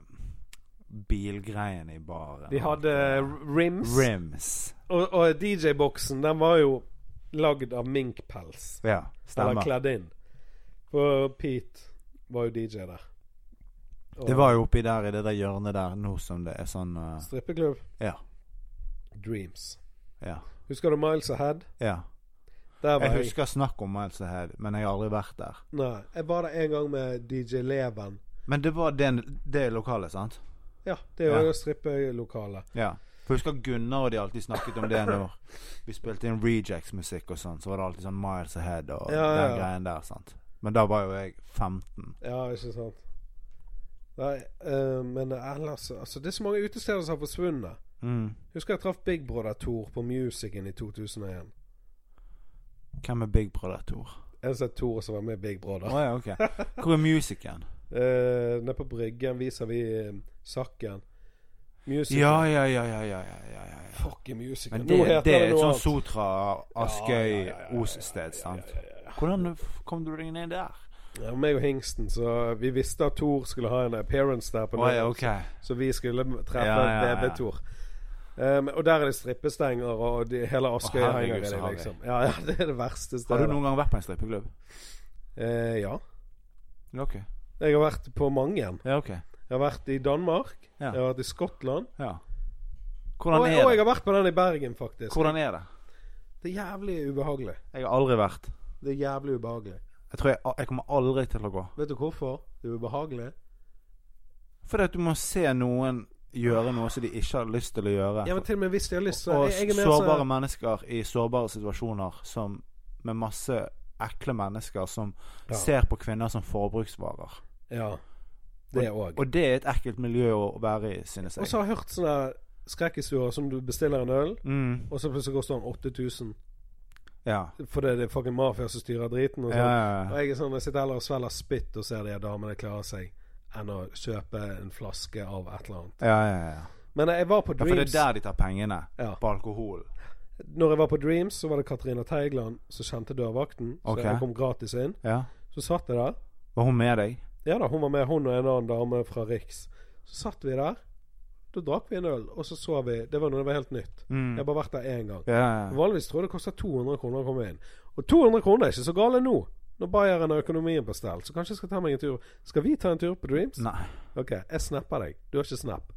Speaker 2: bilgreiene i baren.
Speaker 1: De hadde rims.
Speaker 2: Rims.
Speaker 1: Og, og DJ-boksen, den var jo lagd av minkpels.
Speaker 2: Ja,
Speaker 1: Eller
Speaker 2: stemmer.
Speaker 1: kledd inn. For Pete var jo DJ der. Og
Speaker 2: Det var jo oppi der i det der hjørnet der nå som det er sånn eh,
Speaker 1: Strippeklubb.
Speaker 2: Ja.
Speaker 1: Dreams.
Speaker 2: Ja.
Speaker 1: Husker du Miles Ahead?
Speaker 2: ja.
Speaker 1: Der var
Speaker 2: Jeg
Speaker 1: jeg.
Speaker 2: husker snakk om Miles Ahead, men jeg har aldri vært der.
Speaker 1: Nei, jeg var der en gang med DJ Leven.
Speaker 2: Men det var det, det lokalet, sant?
Speaker 1: Ja, det er jo
Speaker 2: Ja.
Speaker 1: strippelokale.
Speaker 2: Ja. For jeg husker Gunnar og de alltid snakket om det når vi spilte inn Rejects-musikk og sånn. Så var det alltid sånn Miles Ahead og
Speaker 1: Ja, ja, ja.
Speaker 2: den greien der, sant. Men da var jo jeg 15.
Speaker 1: Ja, ikke sant. Nei, eh, men ellers Altså, det er så mange utesteder som har forsvunnet.
Speaker 2: Mm.
Speaker 1: Husker jeg traff Big Brother Tour på Musicen i 2001.
Speaker 2: Hvem er Big Brother Tor?
Speaker 1: En som het Tor, som var med i Big
Speaker 2: Å
Speaker 1: Brother.
Speaker 2: ja, ok. Hvor er musikken?
Speaker 1: Eh, Nede på Bryggen viser vi eh, Sakken. Musical.
Speaker 2: Ja, ja, ja, ja, ja, ja, ja, ja. ja.
Speaker 1: Fucking musical.
Speaker 2: Men
Speaker 1: Nå
Speaker 2: det,
Speaker 1: heter
Speaker 2: det er et
Speaker 1: noe
Speaker 2: sånn
Speaker 1: annet.
Speaker 2: Sotra,
Speaker 1: Ja, ja, ja,
Speaker 2: Askøy,
Speaker 1: ja, ja, ja,
Speaker 2: Os-sted, sant.
Speaker 1: ja, ja, ja.
Speaker 2: Hvordan kom du deg ned der?
Speaker 1: Ja, meg og Hingsten, så vi visste at Tor skulle ha en appearance der, på
Speaker 2: Å ja,
Speaker 1: Norge,
Speaker 2: ok.
Speaker 1: så vi skulle treffe
Speaker 2: Ja, ja, ja.
Speaker 1: DB-Tor. Um, og der er det strippestenger, og de, hele Askøy
Speaker 2: Å, herregud,
Speaker 1: henger i det,
Speaker 2: så har vi.
Speaker 1: liksom. Ja, ja, det er det verste
Speaker 2: Har
Speaker 1: stedet.
Speaker 2: du noen gang vært på en strippeklubb?
Speaker 1: Eh, ja.
Speaker 2: Ja, ok.
Speaker 1: Jeg har vært på mange. Jeg
Speaker 2: Ja, ok.
Speaker 1: har vært i Danmark,
Speaker 2: Ja.
Speaker 1: jeg har vært i Skottland,
Speaker 2: Ja.
Speaker 1: og,
Speaker 2: Hvordan
Speaker 1: og
Speaker 2: er
Speaker 1: jeg
Speaker 2: det?
Speaker 1: har vært på den i Bergen, faktisk.
Speaker 2: Hvordan er det?
Speaker 1: Det er jævlig ubehagelig.
Speaker 2: Jeg har aldri vært.
Speaker 1: Det er jævlig ubehagelig.
Speaker 2: Jeg tror jeg, jeg kommer aldri til å gå.
Speaker 1: Vet du hvorfor det er ubehagelig?
Speaker 2: Fordi at du må se noen gjøre noe som de ikke har lyst til å gjøre.
Speaker 1: Ja, men til og med hvis de har lyst, så
Speaker 2: og
Speaker 1: jeg, jeg er mer
Speaker 2: sårbare
Speaker 1: sånn
Speaker 2: mennesker i sårbare situasjoner som med masse ekle mennesker som
Speaker 1: Ja.
Speaker 2: ser på kvinner som forbruksvarer.
Speaker 1: Ja. Det òg.
Speaker 2: Og det er et ekkelt miljø å være i, synes
Speaker 1: Og
Speaker 2: jeg.
Speaker 1: så har jeg hørt sånne skrekkhistorier som du bestiller en øl,
Speaker 2: mm,
Speaker 1: og så plutselig koster den 8000
Speaker 2: ja.
Speaker 1: fordi det er fucking mafia som styrer driten. Og,
Speaker 2: Ja,
Speaker 1: sånn.
Speaker 2: ja,
Speaker 1: og
Speaker 2: ja.
Speaker 1: jeg er sånn, jeg sitter heller og svelger spytt og ser de her damene klare seg, enn å kjøpe en flaske av et eller annet.
Speaker 2: ja, ja, ja.
Speaker 1: Men jeg var på
Speaker 2: ja, for det
Speaker 1: Dreams.
Speaker 2: er der de tar pengene.
Speaker 1: Ja.
Speaker 2: På alkohol.
Speaker 1: Når jeg var på Dreams, så var det Katarina Teigland som kjente dørvakten, så
Speaker 2: Ok.
Speaker 1: jeg kom gratis inn.
Speaker 2: Ja.
Speaker 1: Så satt jeg der.
Speaker 2: Var hun med deg?
Speaker 1: Ja da, hun var med, hun og en annen dame fra Riks. Så satt vi der. Da drakk vi en øl, og så så vi Det var noe det var helt nytt. Jeg
Speaker 2: Mm.
Speaker 1: har bare vært der én gang.
Speaker 2: Ja, ja, ja.
Speaker 1: Vanligvis tror jeg det koster 200 kroner å komme inn. Og 200 kroner er ikke så gale nå. Når Bayern har økonomien på stell, så kanskje jeg skal ta meg en tur. Skal vi ta en tur på Dreams?
Speaker 2: Nei.
Speaker 1: Ok, jeg snapper deg. Du har ikke snap.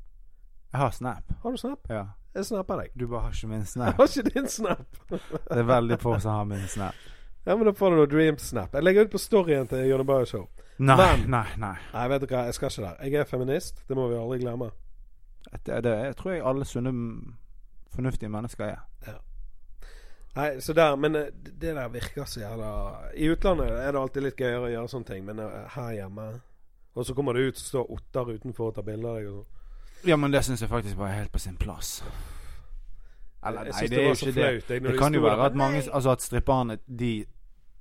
Speaker 2: Jeg har Snap.
Speaker 1: Har du snap?
Speaker 2: Ja.
Speaker 1: Jeg snapper deg.
Speaker 2: Du bare har ikke min
Speaker 1: Jeg
Speaker 2: Snap.
Speaker 1: har ikke din snap.
Speaker 2: Det er veldig få som har min Snap.
Speaker 1: Ja, men da får du noe Dreams-snap. Jeg legger ut på storyen til Jonny Bayer Show.
Speaker 2: Nei,
Speaker 1: Men-
Speaker 2: nei, nei.
Speaker 1: Nei, vet du hva, jeg skal ikke der. Jeg er feminist. Det må vi aldri glemme.
Speaker 2: Det, det jeg tror jeg alle sunne, m- fornuftige mennesker er.
Speaker 1: Nei, så der, men eh, det der virker så jævla I utlandet er det alltid litt gøyere å gjøre sånne ting, men eh, her hjemme Og så kommer det ut, så står Ottar utenfor og tar bilder av deg og sånn.
Speaker 2: Ja, men det syns jeg faktisk var helt på sin plass. Eller,
Speaker 1: Jeg
Speaker 2: nei,
Speaker 1: synes
Speaker 2: det er jo
Speaker 1: var så
Speaker 2: ikke det.
Speaker 1: flaut, jeg, når
Speaker 2: Det
Speaker 1: de
Speaker 2: kan jo
Speaker 1: sto der.
Speaker 2: være at mange Altså at stripperne, de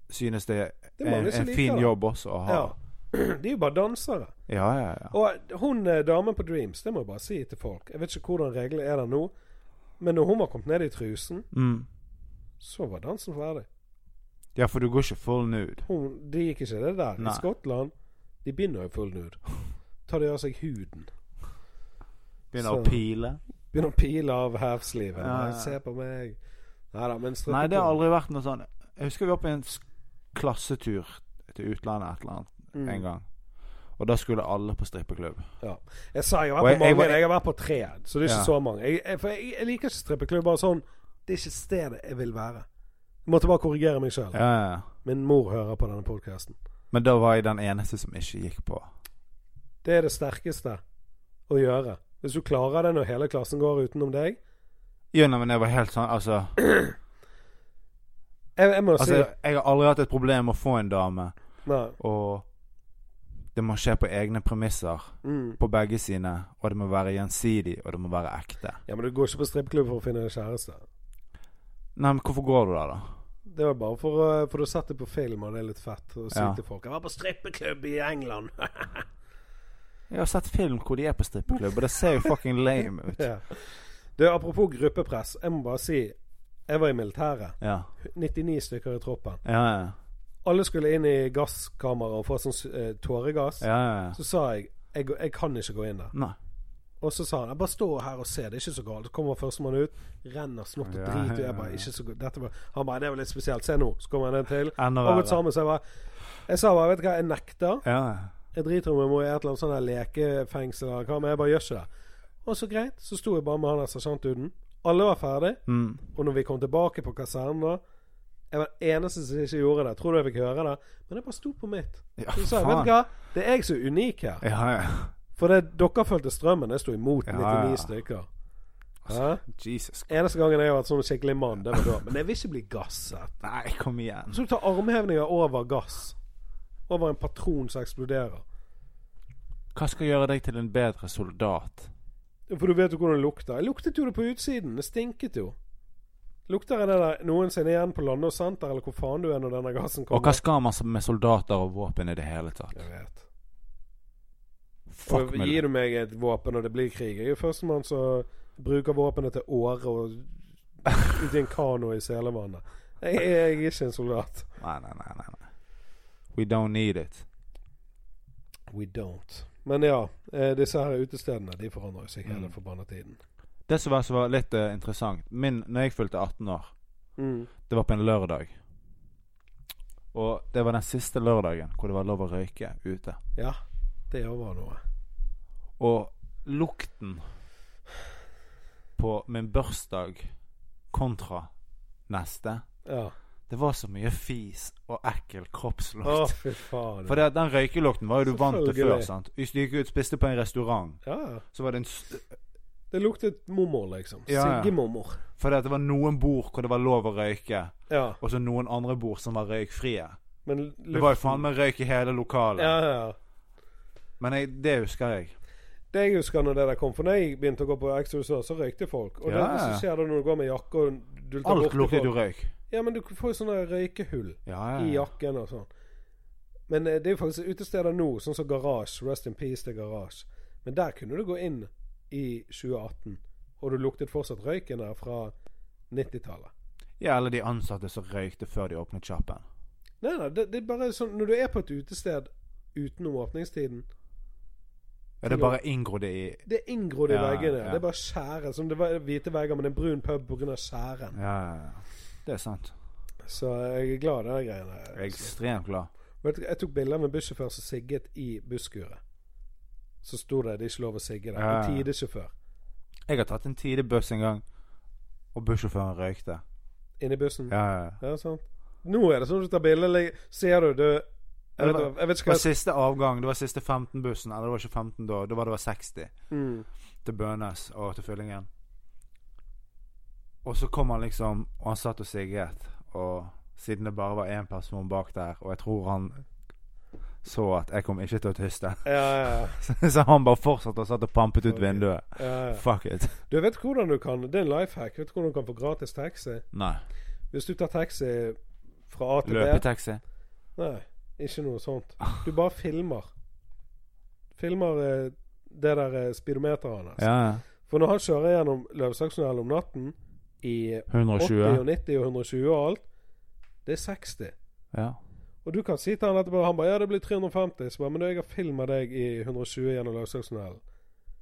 Speaker 2: synes det er,
Speaker 1: Det er mange som
Speaker 2: en
Speaker 1: liker
Speaker 2: fin
Speaker 1: det.
Speaker 2: jobb også å ha.
Speaker 1: Ja. De er jo bare dansere.
Speaker 2: Ja, ja, ja.
Speaker 1: Og hun eh, damen på Dreams, det må jeg bare si til folk Jeg vet ikke hvordan reglene er der nå, men når hun var kommet ned i trusen,
Speaker 2: Mm.
Speaker 1: så var dansen ferdig.
Speaker 2: Ja, for du går ikke full nude.
Speaker 1: Hun, de gikk ikke det der.
Speaker 2: Nei.
Speaker 1: I Skottland De begynner jo full nude. Tar de av seg huden.
Speaker 2: Begynner
Speaker 1: Så-
Speaker 2: å pile.
Speaker 1: Begynner å pile av hevslivet.
Speaker 2: Ja, ja.
Speaker 1: Nei, Se på meg. Neida, men strømpe-
Speaker 2: Nei, det har aldri vært noe sånn Jeg husker vi var på en s- klassetur til utlandet et eller annet
Speaker 1: Mm.
Speaker 2: en gang. Og da skulle alle på strippeklubb.
Speaker 1: Jeg sa jeg har
Speaker 2: Og
Speaker 1: vært på mange,
Speaker 2: jeg- jeg var-
Speaker 1: men jeg har vært på tre. Så det er ikke
Speaker 2: Ja.
Speaker 1: så mange. Jeg, jeg, for jeg, jeg liker ikke strippeklubber sånn. Det er ikke stedet jeg vil være. Jeg måtte bare korrigere meg sjøl.
Speaker 2: Ja, ja, ja.
Speaker 1: Min mor hører på denne podkasten.
Speaker 2: Men da var jeg den eneste som ikke gikk på.
Speaker 1: Det er det sterkeste å gjøre. Hvis du klarer det når hele klassen går utenom deg
Speaker 2: Jo, nei, men jeg var helt sånn Altså,
Speaker 1: Jeg, jeg må
Speaker 2: altså jeg har aldri hatt et problem med å få en dame,
Speaker 1: si Nei.
Speaker 2: og det må skje på egne premisser.
Speaker 1: Mm.
Speaker 2: På begge sine. Og det må være gjensidig, og det må være ekte.
Speaker 1: Ja, men du går ikke på strippeklubb for å finne deg kjæreste.
Speaker 2: Nei, men hvorfor går du der, da?
Speaker 1: Det var bare for, uh, for du har sett det på film, og det er litt fett å si
Speaker 2: Ja.
Speaker 1: til folk 'Jeg var på strippeklubb i England'.
Speaker 2: Jeg har sett film hvor de er på strippeklubb, og det ser jo fucking lame ut.
Speaker 1: ja. Du, apropos gruppepress. Jeg må bare si Jeg var i militæret.
Speaker 2: Ja,
Speaker 1: 99 stykker i troppen.
Speaker 2: ja, ja.
Speaker 1: Alle skulle inn i gasskammeret og få sånn eh, tåregass.
Speaker 2: ja, ja, ja.
Speaker 1: Så sa jeg, jeg jeg kan ikke gå inn der.
Speaker 2: Nei.
Speaker 1: Og så sa han jeg bare stå her og se, det er ikke så galt. Så kommer førstemann ut, renner snott og
Speaker 2: Ja,
Speaker 1: drit. Og
Speaker 2: ja,
Speaker 1: jeg bare,
Speaker 2: ja.
Speaker 1: ikke så galt. Dette var, han bare, det var litt spesielt. Se nå. Så kommer han en til.
Speaker 2: Enda
Speaker 1: Og gått
Speaker 2: verre.
Speaker 1: sammen, så jeg bare Jeg sa bare, vet du hva, jeg nekter.
Speaker 2: Ja, ja.
Speaker 1: Jeg driter om jeg må i et eller annet sånn her lekefengsel eller hva, men jeg bare gjør ikke det. Og så greit, så sto jeg bare med han der sersjantduden. Alle var ferdig.
Speaker 2: Mm.
Speaker 1: Og når vi kom tilbake på kasernen da Jeg var den eneste som ikke gjorde det. Tror du jeg fikk høre det? Men jeg bare sto på mitt.
Speaker 2: Ja,
Speaker 1: Så sa jeg, vet du
Speaker 2: faen.
Speaker 1: hva, det er jeg som er unik her.
Speaker 2: Ja, ja.
Speaker 1: For det, dere fulgte strømmen. Jeg sto imot
Speaker 2: Ja,
Speaker 1: 99
Speaker 2: ja.
Speaker 1: stykker. Hæ?
Speaker 2: Jesus.
Speaker 1: Eneste gangen jeg har vært sånn skikkelig mann, det var da. Men jeg vil ikke bli gasset.
Speaker 2: Nei, kom igjen.
Speaker 1: Så du tar armhevninger over gass. Over en patron som eksploderer.
Speaker 2: Hva skal gjøre deg til en bedre soldat?
Speaker 1: For du vet jo hvordan det lukter. Jeg luktet jo det på utsiden. Det stinket jo. Lukter jeg det der noensinne igjen på Landås senter, eller hvor faen du er når denne gassen
Speaker 2: Og hva
Speaker 1: kommer?
Speaker 2: skal man med soldater og våpen i det hele tatt?
Speaker 1: Jeg vet.
Speaker 2: Fuck liksom.
Speaker 1: og
Speaker 2: med
Speaker 1: gir
Speaker 2: det.
Speaker 1: du meg et våpen og det blir krig Jeg er jo førstemann som bruker våpenet til åre og ut i en kano i Selevannet. Jeg, jeg, jeg er ikke en soldat.
Speaker 2: Nei, nei, nei, nei. nei. We don't need it.
Speaker 1: We don't. Men ja, eh, disse her utestedene de forandrer jo seg hele
Speaker 2: Mm.
Speaker 1: forbanna tiden.
Speaker 2: Det som var, som var litt eh, interessant Min, når jeg fylte 18 år,
Speaker 1: Mm.
Speaker 2: det var på en lørdag. Og det var den siste lørdagen hvor det var lov å røyke ute.
Speaker 1: Ja, det òg var noe.
Speaker 2: Og lukten på min bursdag kontra neste
Speaker 1: Ja.
Speaker 2: Det var så mye fis og ekkel kroppslukt.
Speaker 1: Å, fy faen.
Speaker 2: For det, den røykelukten var jo du vant til før.
Speaker 1: Selvfølgelig.
Speaker 2: sant? Hvis du gikk ut og spiste på en restaurant,
Speaker 1: Ja, ja.
Speaker 2: så var det en st
Speaker 1: Det luktet mormor, liksom.
Speaker 2: Ja, ja.
Speaker 1: Sigge-mormor.
Speaker 2: For det var noen bord hvor det var lov å røyke,
Speaker 1: Ja,
Speaker 2: og så noen andre bord som var røykfrie.
Speaker 1: men
Speaker 2: Det var jo faen meg røyk i hele lokalet.
Speaker 1: Ja, ja, ja.
Speaker 2: Men jeg, det husker jeg.
Speaker 1: Det jeg husker når det der kom, for når jeg begynte å gå på Exo USA, så røykte folk. Og
Speaker 2: Ja,
Speaker 1: det
Speaker 2: ja.
Speaker 1: som skjer da når du går med jakke og dulter
Speaker 2: Alt
Speaker 1: borti
Speaker 2: luktet
Speaker 1: folk-
Speaker 2: jo røyk.
Speaker 1: Ja, men du får jo sånne røykehull
Speaker 2: Ja,
Speaker 1: i
Speaker 2: ja.
Speaker 1: jakken og sånn. Men eh, det er jo faktisk utesteder nå, sånn som Garage. Rest in peace til Garage. Men der kunne du gå inn i 2018, og du luktet fortsatt røyken der fra 90-tallet.
Speaker 2: ja, eller de ansatte som røykte før de åpnet sjappen.
Speaker 1: Nei, nei, det, det er bare sånn Når du er på et utested utenom åpningstiden
Speaker 2: Ja, det bare inngrodde i
Speaker 1: Det er inngrodd i
Speaker 2: Ja,
Speaker 1: veggene.
Speaker 2: ja.
Speaker 1: Det er bare skjære. Som det var hvite vegger, men en brun pub pga. skjæren.
Speaker 2: Ja, ja, ja. Det er sant.
Speaker 1: Så jeg er glad i de greiene.
Speaker 2: Jeg er ekstremt glad.
Speaker 1: Vet du, jeg tok bilder med bussjåfør som sigget i busskuret. Så sto det 'det er ikke lov å sigge der'.
Speaker 2: Ja.
Speaker 1: En tidesjåfør.
Speaker 2: Jeg har tatt en tidlig buss en gang, og bussjåføren røykte.
Speaker 1: Inni bussen.
Speaker 2: Ja, ja, ja.
Speaker 1: Ja, sant. Nå er det sånn at du tar bilde eller Ser du, du jeg vet, jeg vet
Speaker 2: Det
Speaker 1: ikke hva
Speaker 2: var
Speaker 1: jeg
Speaker 2: siste avgang. Det var siste 15-bussen. Eller det var ikke 15 da. Da var det var 60.
Speaker 1: mm.
Speaker 2: Til Bønes og til Fyllingen. Og så kom han liksom Og han satt og sigget. Og siden det bare var én person bak der, og jeg tror han så at jeg kom ikke til å tyste,
Speaker 1: ja, ja,
Speaker 2: så han bare fortsatte og satt og pampet ut
Speaker 1: Ok.
Speaker 2: vinduet.
Speaker 1: ja, ja.
Speaker 2: Fuck it.
Speaker 1: Du vet hvordan du kan Det er en life hack. Vet du hvordan du kan få gratis taxi?
Speaker 2: Nei.
Speaker 1: Hvis du tar taxi fra A til B
Speaker 2: Løpetaxi?
Speaker 1: Nei, ikke noe sånt. Du bare filmer. Filmer eh, det der eh, speedometeret hans.
Speaker 2: Ja, ja.
Speaker 1: For når han kjører gjennom Løvsakstunnelen om natten i 80
Speaker 2: 120?
Speaker 1: og 90 og 120 og alt. Det er 60.
Speaker 2: Ja.
Speaker 1: Og Og du kan si til han etterpå Han bare 'Ja, det blir 350.' Så bare 'Men du, jeg har filma deg i 120 gjennom Lagsdalstunnelen'.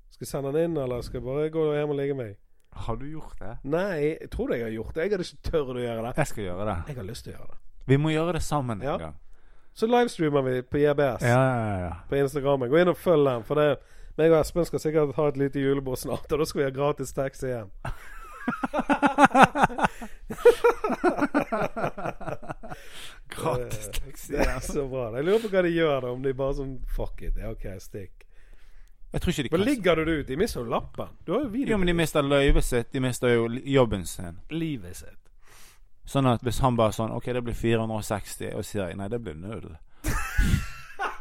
Speaker 1: Skal jeg sende han inn, eller skal jeg bare gå hjem og ligge meg?
Speaker 2: Har du gjort det?
Speaker 1: Nei, jeg tror jeg har gjort det. Jeg hadde ikke tørt å gjøre det.
Speaker 2: Jeg skal gjøre det.
Speaker 1: Jeg har lyst til å gjøre det.
Speaker 2: Vi må gjøre det sammen en
Speaker 1: Ja.
Speaker 2: gang.
Speaker 1: Så livestreamer vi på JBS
Speaker 2: Ja, ja, ja.
Speaker 1: på Instagram. Gå inn og følg den. For det meg og Espen skal sikkert ha et lite julebord snart, og da skal vi ha gratis taxi hjem.
Speaker 2: Gratis
Speaker 1: Det er så bra. Jeg lurer på hva de gjør, da. Om de bare sånn Fuck it. Ja, OK, stikk.
Speaker 2: Jeg tror ikke de
Speaker 1: Men
Speaker 2: kan
Speaker 1: ligger du det ut? De mister jo lappen. Du har jo video.
Speaker 2: Jo, men de mister løyvet sitt. De mister jo li- jobben sin.
Speaker 1: livet sitt.
Speaker 2: Sånn at hvis han bare sånn OK, det blir 460, og sier jeg nei, det blir null.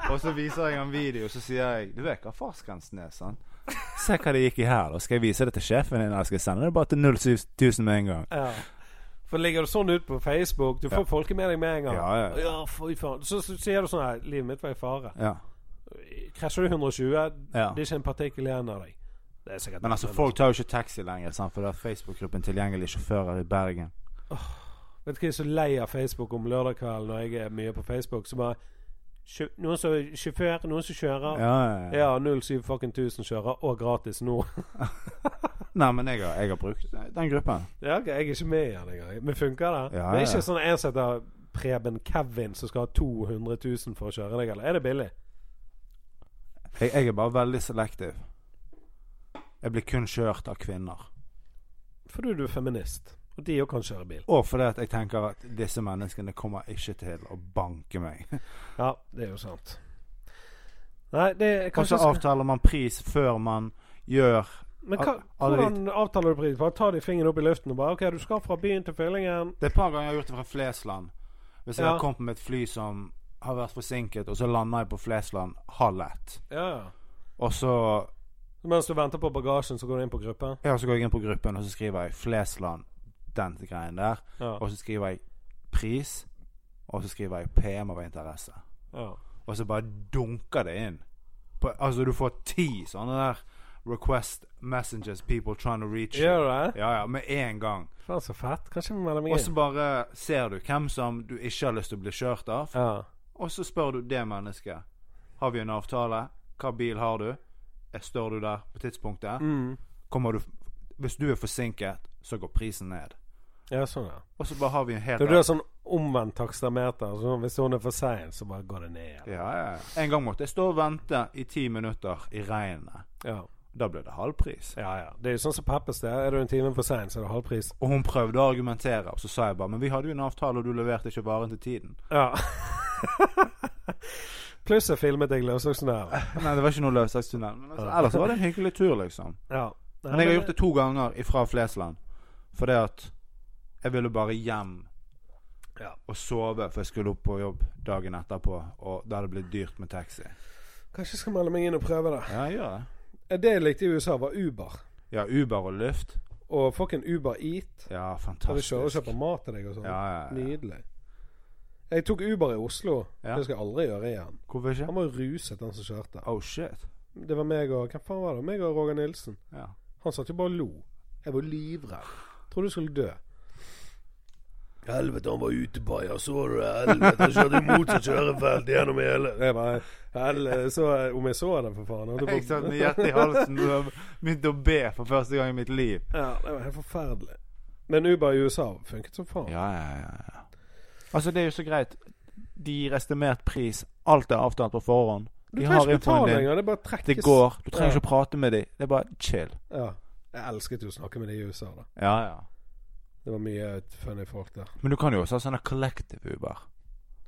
Speaker 2: og så viser jeg en video, så sier jeg Du vet hva farskrensen er, sant? Se hva det gikk i her, da. Skal jeg vise det til sjefen din, eller skal jeg sende det bare til 07000 med en gang?
Speaker 1: Ja. For ligger du sånn ut på Facebook, du får folket med deg med en gang.
Speaker 2: Ja, ja, ja.
Speaker 1: fy faen. Så, så sier du sånn her Livet mitt var i fare.
Speaker 2: Ja.
Speaker 1: Krasjer du 120,
Speaker 2: Ja.
Speaker 1: det er ikke en partikkel igjen av deg. Det er sikkert
Speaker 2: Men altså, folk tar jo ikke taxi lenger, sant? for det er Facebook-gruppen tilgjengelige sjåfører i Bergen.
Speaker 1: Vet du hva jeg er så lei av Facebook om lørdag kveld når jeg er mye på Facebook? Så bare sjø- Noen som er sjåfør, noen som kjører.
Speaker 2: Ja, ja, ja.
Speaker 1: Ja, 07 fucking 1000 kjører, og gratis nå.
Speaker 2: Nei, men jeg har, jeg har brukt den gruppen.
Speaker 1: Ja, ok, jeg er ikke med igjen engang. Men funker det?
Speaker 2: Ja,
Speaker 1: det er
Speaker 2: ja.
Speaker 1: ikke sånn en som heter Preben Kevin som skal ha 200 000 for å kjøre deg, eller er det billig?
Speaker 2: Jeg, jeg er bare veldig selektiv. Jeg blir kun kjørt av kvinner.
Speaker 1: Fordi du er feminist, og de òg kan kjøre bil.
Speaker 2: Og fordi at jeg tenker at disse menneskene kommer ikke til å banke meg.
Speaker 1: Ja, det er jo sant. Nei, det er kanskje sånn-
Speaker 2: Kanskje avtaler man pris før man gjør
Speaker 1: Men hva,
Speaker 2: alle de-
Speaker 1: hvordan avtaler du pris? Bare ta de fingrene opp i luften og bare OK, du skal fra byen til fyllingen.
Speaker 2: Det er et par ganger jeg har gjort det fra Flesland. Hvis jeg
Speaker 1: Ja.
Speaker 2: har kommet med et fly som har vært forsinket, og så lander jeg på Flesland halv ett.
Speaker 1: Ja, ja.
Speaker 2: Og så,
Speaker 1: Mens du venter på bagasjen, så går du inn på gruppen.
Speaker 2: ja, så går jeg inn på gruppen, og så skriver jeg 'Flesland', den greien der.
Speaker 1: Ja.
Speaker 2: Og så skriver jeg pris, og så skriver jeg PM av interesse.
Speaker 1: ja.
Speaker 2: Og så bare dunker det inn. På, altså, du får ti sånne der request messages people trying to reach. you.
Speaker 1: Gjør du det?
Speaker 2: Ja, ja, med en gang.
Speaker 1: Faen, så fett. Kanskje vi melder meg
Speaker 2: Og så
Speaker 1: inn.
Speaker 2: bare ser du hvem som du ikke har lyst til å bli kjørt av,
Speaker 1: Ja.
Speaker 2: og så spør du det mennesket. Har vi en avtale? Hva bil har du? Eh, Står du der på tidspunktet?
Speaker 1: Mm.
Speaker 2: Kommer du Hvis du er forsinket, så går prisen ned.
Speaker 1: ja, sånn, ja.
Speaker 2: Og så bare har vi en helt
Speaker 1: Når du har sånn omvendt takstameter, så hvis hun er for sein, så bare går det ned.
Speaker 2: Ja, ja. ja. En gang måtte jeg stå og vente i ti minutter i regnet.
Speaker 1: Ja,
Speaker 2: Da ble det halvpris.
Speaker 1: ja. ja. Det er jo sånn som Peppes det. Er du en time for sein, så er det halv pris.
Speaker 2: Og hun prøvde å argumentere, og så sa jeg bare Men vi hadde jo en avtale, og du leverte ikke varen til tiden.
Speaker 1: Ja. Pluss jeg filmet deg løsøksen der.
Speaker 2: Nei, det var ikke noe løsakstunnel. Men altså, ellers var det en hyggelig tur, liksom.
Speaker 1: Ja.
Speaker 2: Men jeg har gjort det to ganger ifra Flesland. Fordi at jeg ville bare hjem
Speaker 1: Ja.
Speaker 2: og sove, for jeg skulle opp på jobb dagen etterpå, og da hadde det blitt dyrt med taxi.
Speaker 1: Kanskje jeg skal melde meg inn og prøve det. Eh,
Speaker 2: Ja, jeg gjør det.
Speaker 1: Det jeg likte i USA, var Uber.
Speaker 2: Ja, Uber og Lyft.
Speaker 1: Og fucking Uber Eat. Der du kjører
Speaker 2: Ja,
Speaker 1: og
Speaker 2: fantastisk.
Speaker 1: kjøper mat til deg og sånn.
Speaker 2: Ja, ja, ja.
Speaker 1: Nydelig. Jeg tok Uber i Oslo.
Speaker 2: Ja.
Speaker 1: Det skal jeg aldri gjøre igjen.
Speaker 2: Hvorfor ikke?
Speaker 1: Han var jo ruset, han som kjørte.
Speaker 2: Oh shit.
Speaker 1: Det var meg og Hvem faen var det? Meg og Roger Nilsen.
Speaker 2: Ja.
Speaker 1: Han satt jo bare og lo. Jeg var livredd. Trodde du skulle dø. Helvete, han var utebayer. Så du det? Helvete, han kjørte i motsatt kjørefelt gjennom hele Jeg bare hel- så, Om jeg så det, for faen. Jeg holdt
Speaker 2: Jeg
Speaker 1: på-
Speaker 2: satt med hjertet i halsen og begynte å be for første gang i mitt liv.
Speaker 1: Ja, det var helt forferdelig. Men Uber i USA funket som faen.
Speaker 2: Ja, ja, ja, ja. Altså, det er jo så greit. De gir estimert pris. Alt er avtalt på forhånd.
Speaker 1: du
Speaker 2: De
Speaker 1: trenger
Speaker 2: har
Speaker 1: ikke
Speaker 2: infoen
Speaker 1: betale
Speaker 2: din.
Speaker 1: engang. Det bare trekkes.
Speaker 2: Det går. Du trenger
Speaker 1: Ja.
Speaker 2: ikke å prate med dem. Det er bare chill.
Speaker 1: Ja. Jeg elsket jo å snakke med de i USA, da.
Speaker 2: Ja, ja.
Speaker 1: Det var mye funny folk der.
Speaker 2: Men du kan jo også ha sånne collective Uber.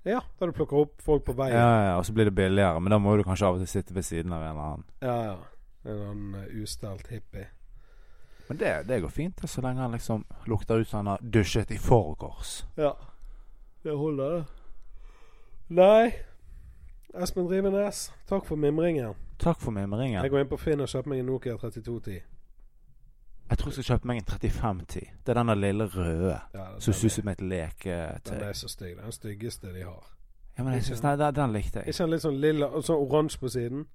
Speaker 1: Ja, da du plukker opp folk på veien.
Speaker 2: Ja, ja, og så blir det billigere. Men da må du kanskje av og til sitte ved siden av en eller annen.
Speaker 1: ja. ja. En eller annen eh, ustelt hippie.
Speaker 2: Men det, det går fint, det, så lenge han liksom lukter ut som han har dusjet i forgårs.
Speaker 1: Ja. Det holder, det. Nei. Espen Drivenes, takk for mimringen.
Speaker 2: Takk for mimringen.
Speaker 1: Jeg går inn på Finn og kjøper meg en Nokia 3210.
Speaker 2: Jeg tror jeg skal kjøpe meg en 3510. Det er denne lille røde
Speaker 1: Ja, den,
Speaker 2: som ser
Speaker 1: er,
Speaker 2: ut som et
Speaker 1: den
Speaker 2: leketøy.
Speaker 1: er så stygg. Det er Den styggeste de har.
Speaker 2: Ja, men jeg synes, nei, den, den likte
Speaker 1: Er
Speaker 2: jeg.
Speaker 1: ikke den litt sånn lilla og sånn oransje på siden?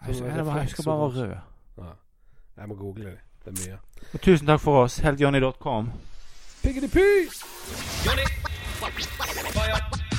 Speaker 2: Jeg, husker- jeg, bare- jeg husker bare rød.
Speaker 1: Ja. Jeg må google det. Det er mye.
Speaker 2: Og tusen takk for oss. Helt Johnny.com.
Speaker 1: Piggedy poo!
Speaker 3: Fire.